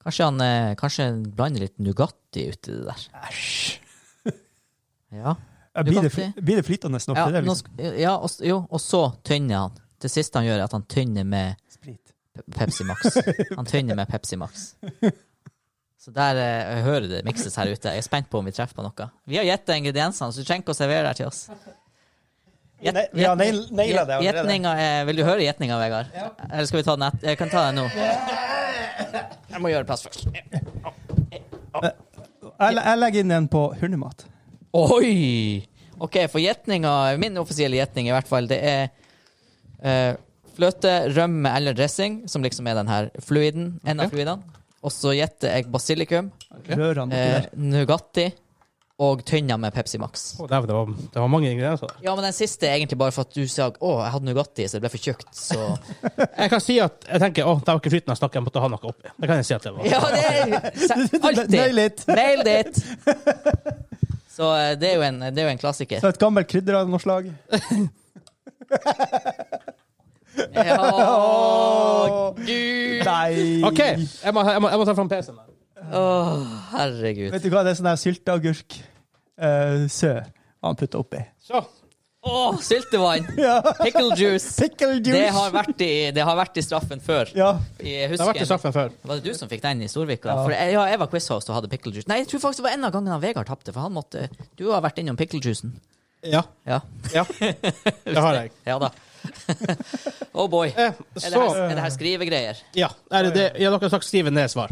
Speaker 1: Kanskje han eh, kanskje han blander litt Nugatti uti det der.
Speaker 2: Æsj.
Speaker 1: Ja.
Speaker 2: Ja, Blir det,
Speaker 1: Nugatti.
Speaker 2: fly- blir det flytende nok
Speaker 1: Ja,
Speaker 2: til det?
Speaker 1: nå
Speaker 2: Liksom?
Speaker 1: sk- ja og, s- jo, og så tynner han. Det siste han gjør, er at han tynner med
Speaker 2: Sprit.
Speaker 1: Pe- Pepsi Max. Han tynner med Pepsi Max. Så der eh, jeg hører det mikses her ute. Jeg er spent på om vi treffer på noe. Vi har gjetta ingrediensene, så du trenger ikke å servere her til oss. Gjet-
Speaker 2: Nei, vi har nail-
Speaker 1: gjet-
Speaker 2: naila det allerede.
Speaker 1: gjetninga er- Vil du høre gjetninga, Vegard? Eller skal vi ta den etter? Jeg kan ta den nå. Jeg må gjøre plass først.
Speaker 2: Jeg, le- jeg legger inn en på hundemat.
Speaker 1: Oi! OK, for gjetninga Min offisielle gjetning i hvert fall, det er eh, fløte, rømme eller dressing, som liksom er den her fluiden. En av
Speaker 3: Ok.
Speaker 1: fluidene. Og så gjetter jeg basilikum,
Speaker 3: Ja.
Speaker 2: Rører han oppi
Speaker 1: eh,
Speaker 2: der.
Speaker 1: Nugatti og tynna med Pepsi Max.
Speaker 3: Å, dæven, det, var, det var mange altså. ingredienser. der.
Speaker 1: Ja, men den siste er egentlig bare for at du sa å, jeg hadde Nugatti, så det ble for tjukt, så
Speaker 3: Jeg kan si at jeg tenker, å, det var ikke flytende snakk, jeg måtte ha noe oppi. Det kan jeg si at det var.
Speaker 1: Ja, det er se-
Speaker 2: Nail
Speaker 1: alltid!
Speaker 2: it!
Speaker 1: Nailed it! Så eh, det er jo en, det er jo en klassiker.
Speaker 2: Så et gammelt krydder av noe slag.
Speaker 1: Ja,
Speaker 2: Åh.
Speaker 1: gud!
Speaker 2: Nei!
Speaker 3: OK, jeg må, jeg må, jeg må ta fram PC-en. her.
Speaker 1: Å, herregud.
Speaker 2: Vet du hva, det er sånn der sylteagurk eh, sø han putter oppi.
Speaker 3: Så.
Speaker 1: Å, syltevann!
Speaker 2: Ja.
Speaker 1: Pickle juice.
Speaker 2: Pickle juice!
Speaker 1: Det har, vært i, det har vært i straffen før.
Speaker 2: Ja.
Speaker 1: Jeg
Speaker 3: Det har vært i
Speaker 1: husker
Speaker 3: straffen før.
Speaker 1: Var det du som fikk den i Storvika?
Speaker 2: Ja.
Speaker 1: For jeg, ja, jeg var quizhost og hadde pickle juice. Nei, jeg tror faktisk det var en av gangene han Vegard tapte, for han måtte Du har vært innom pickle juicen.
Speaker 3: Ja.
Speaker 1: Ja.
Speaker 3: ja. Det har jeg.
Speaker 1: Ja da. oh boy. Er
Speaker 3: Eh,
Speaker 1: det,
Speaker 3: så
Speaker 1: her, er det her skrivegreier?
Speaker 3: Ja, er det, det, ja dere har sagt skrive ned svar.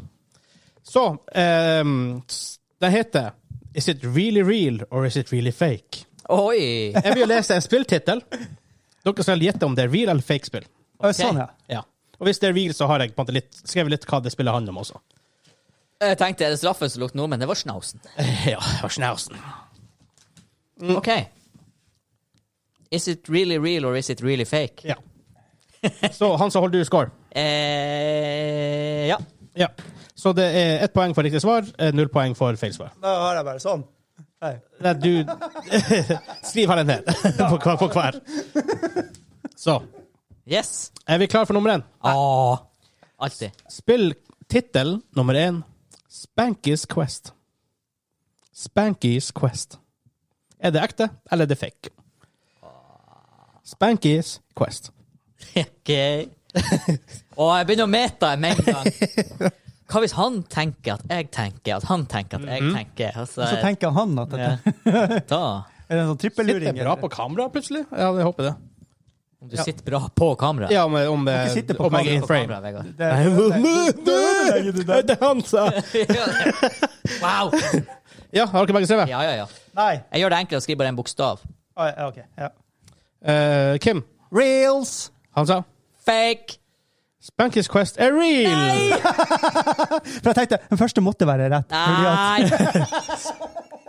Speaker 3: Så ehm, s- Den heter Is it really real or is it really fake?
Speaker 1: Oi!
Speaker 3: Jeg vil jo lese en spilltittel. Dere skal gjette om det er real eller fake spill.
Speaker 2: Å, Sånn, ja.
Speaker 3: Ja. Og hvis det er real, så har jeg på en måte litt, skrevet litt hva det spillet handler om også.
Speaker 1: Jeg tenkte er det straffen som lukter noe, men det var snausen.
Speaker 3: Eh, Ja, og snausen. Mm.
Speaker 1: OK. Is it really real or is it really fake?
Speaker 3: Ja. Så han som holder du score.
Speaker 1: Eh, ja.
Speaker 3: Ja. Så det er ett poeng for riktig svar, eh, null poeng for feil svar.
Speaker 2: Da har jeg bare sånn. Nei.
Speaker 3: Nei, du Skriv her en ned på, hver- på hver. Så.
Speaker 1: Yes.
Speaker 3: Er vi klar for nummer én?
Speaker 1: Ah. Alltid.
Speaker 3: Spill tittel nummer én Spanky's Quest. Spanky's Quest. Er det ekte, eller er det fake? Spanky's Quest.
Speaker 1: OK. Og jeg begynner å meta med en gang. Hva hvis han tenker at jeg tenker at han tenker at
Speaker 3: Mhm.
Speaker 1: jeg tenker? Altså,
Speaker 2: Så tenker han at dette
Speaker 1: da,
Speaker 2: er en sånn
Speaker 3: Sitter
Speaker 2: trippelluring.
Speaker 3: bra på kamera, plutselig. Ja, jeg håper det.
Speaker 1: om du sitter bra på kamera.
Speaker 3: Ja, om, om,
Speaker 2: ikke sitte på
Speaker 3: om jeg er
Speaker 2: kamera
Speaker 3: in
Speaker 1: På
Speaker 3: frame.
Speaker 1: kamera, Vegard.
Speaker 2: Det, ødelegger du
Speaker 3: Jeg
Speaker 2: det.
Speaker 3: danser!
Speaker 1: Wow!
Speaker 3: Ja, har dere begge skrevet?
Speaker 1: Ja, ja, ja.
Speaker 2: Nei.
Speaker 1: Jeg gjør det enkelt å skrive bare en bokstav.
Speaker 2: Ah, ja, OK. Ja.
Speaker 3: Eh, Kim,
Speaker 2: Reels!
Speaker 3: han sa
Speaker 1: Fake!
Speaker 3: Spanky's Quest er real!
Speaker 2: For jeg tenkte, den første måtte være rett.
Speaker 1: Ah.
Speaker 2: fordi at-
Speaker 1: Nei!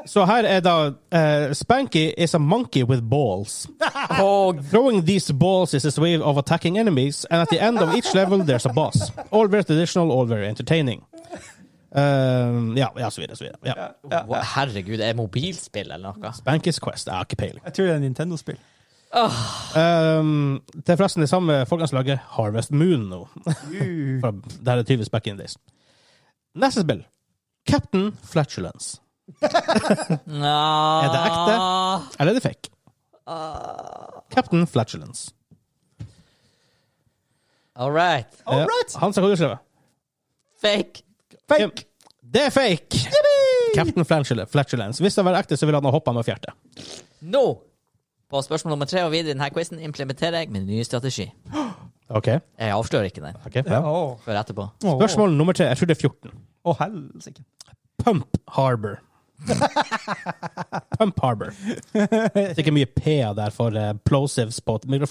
Speaker 3: Så her er da eh, Spanky is a monkey with balls.
Speaker 1: Og
Speaker 3: Throwing these balls is his way of attacking enemies, and at the end of each level there's a boss. All very traditional, all very entertaining. Um, ja, ja, så videre, så videre. Ja.
Speaker 1: Wow, Herregud, er det mobilspill eller noe?
Speaker 3: Bankies Quest, jeg har ikke peiling.
Speaker 2: Jeg tror det er en Nintendo-spill.
Speaker 3: Um, det er forresten det samme folkene som lager Harvest Moon nå. Fra der det tyves back in the days. Neste spill. Captain Flatulence.
Speaker 1: Nå.
Speaker 3: Er det ekte? Eller er det fake? Captain Flatulence.
Speaker 1: All right.
Speaker 3: Eh, han sa hva du skrev.
Speaker 1: Fake.
Speaker 3: Fake. Det er fake! Captain Flatule- Flatulence. Hvis det var ekte, så ville han ha hoppa med fjertet.
Speaker 1: Nå, på spørsmål nummer tre og videre i denne quizen, implementerer jeg min nye strategi.
Speaker 3: Ok,
Speaker 1: Jeg avslører ikke den
Speaker 3: ok.
Speaker 2: Å,
Speaker 3: ja.
Speaker 1: før etterpå.
Speaker 3: Spørsmål nummer tre. Jeg tror det er 14.
Speaker 2: Å, helsike.
Speaker 3: Pump Harbor. Pump Harbor. Det er ikke mye P-er der for eh, plosives på et mikrofon.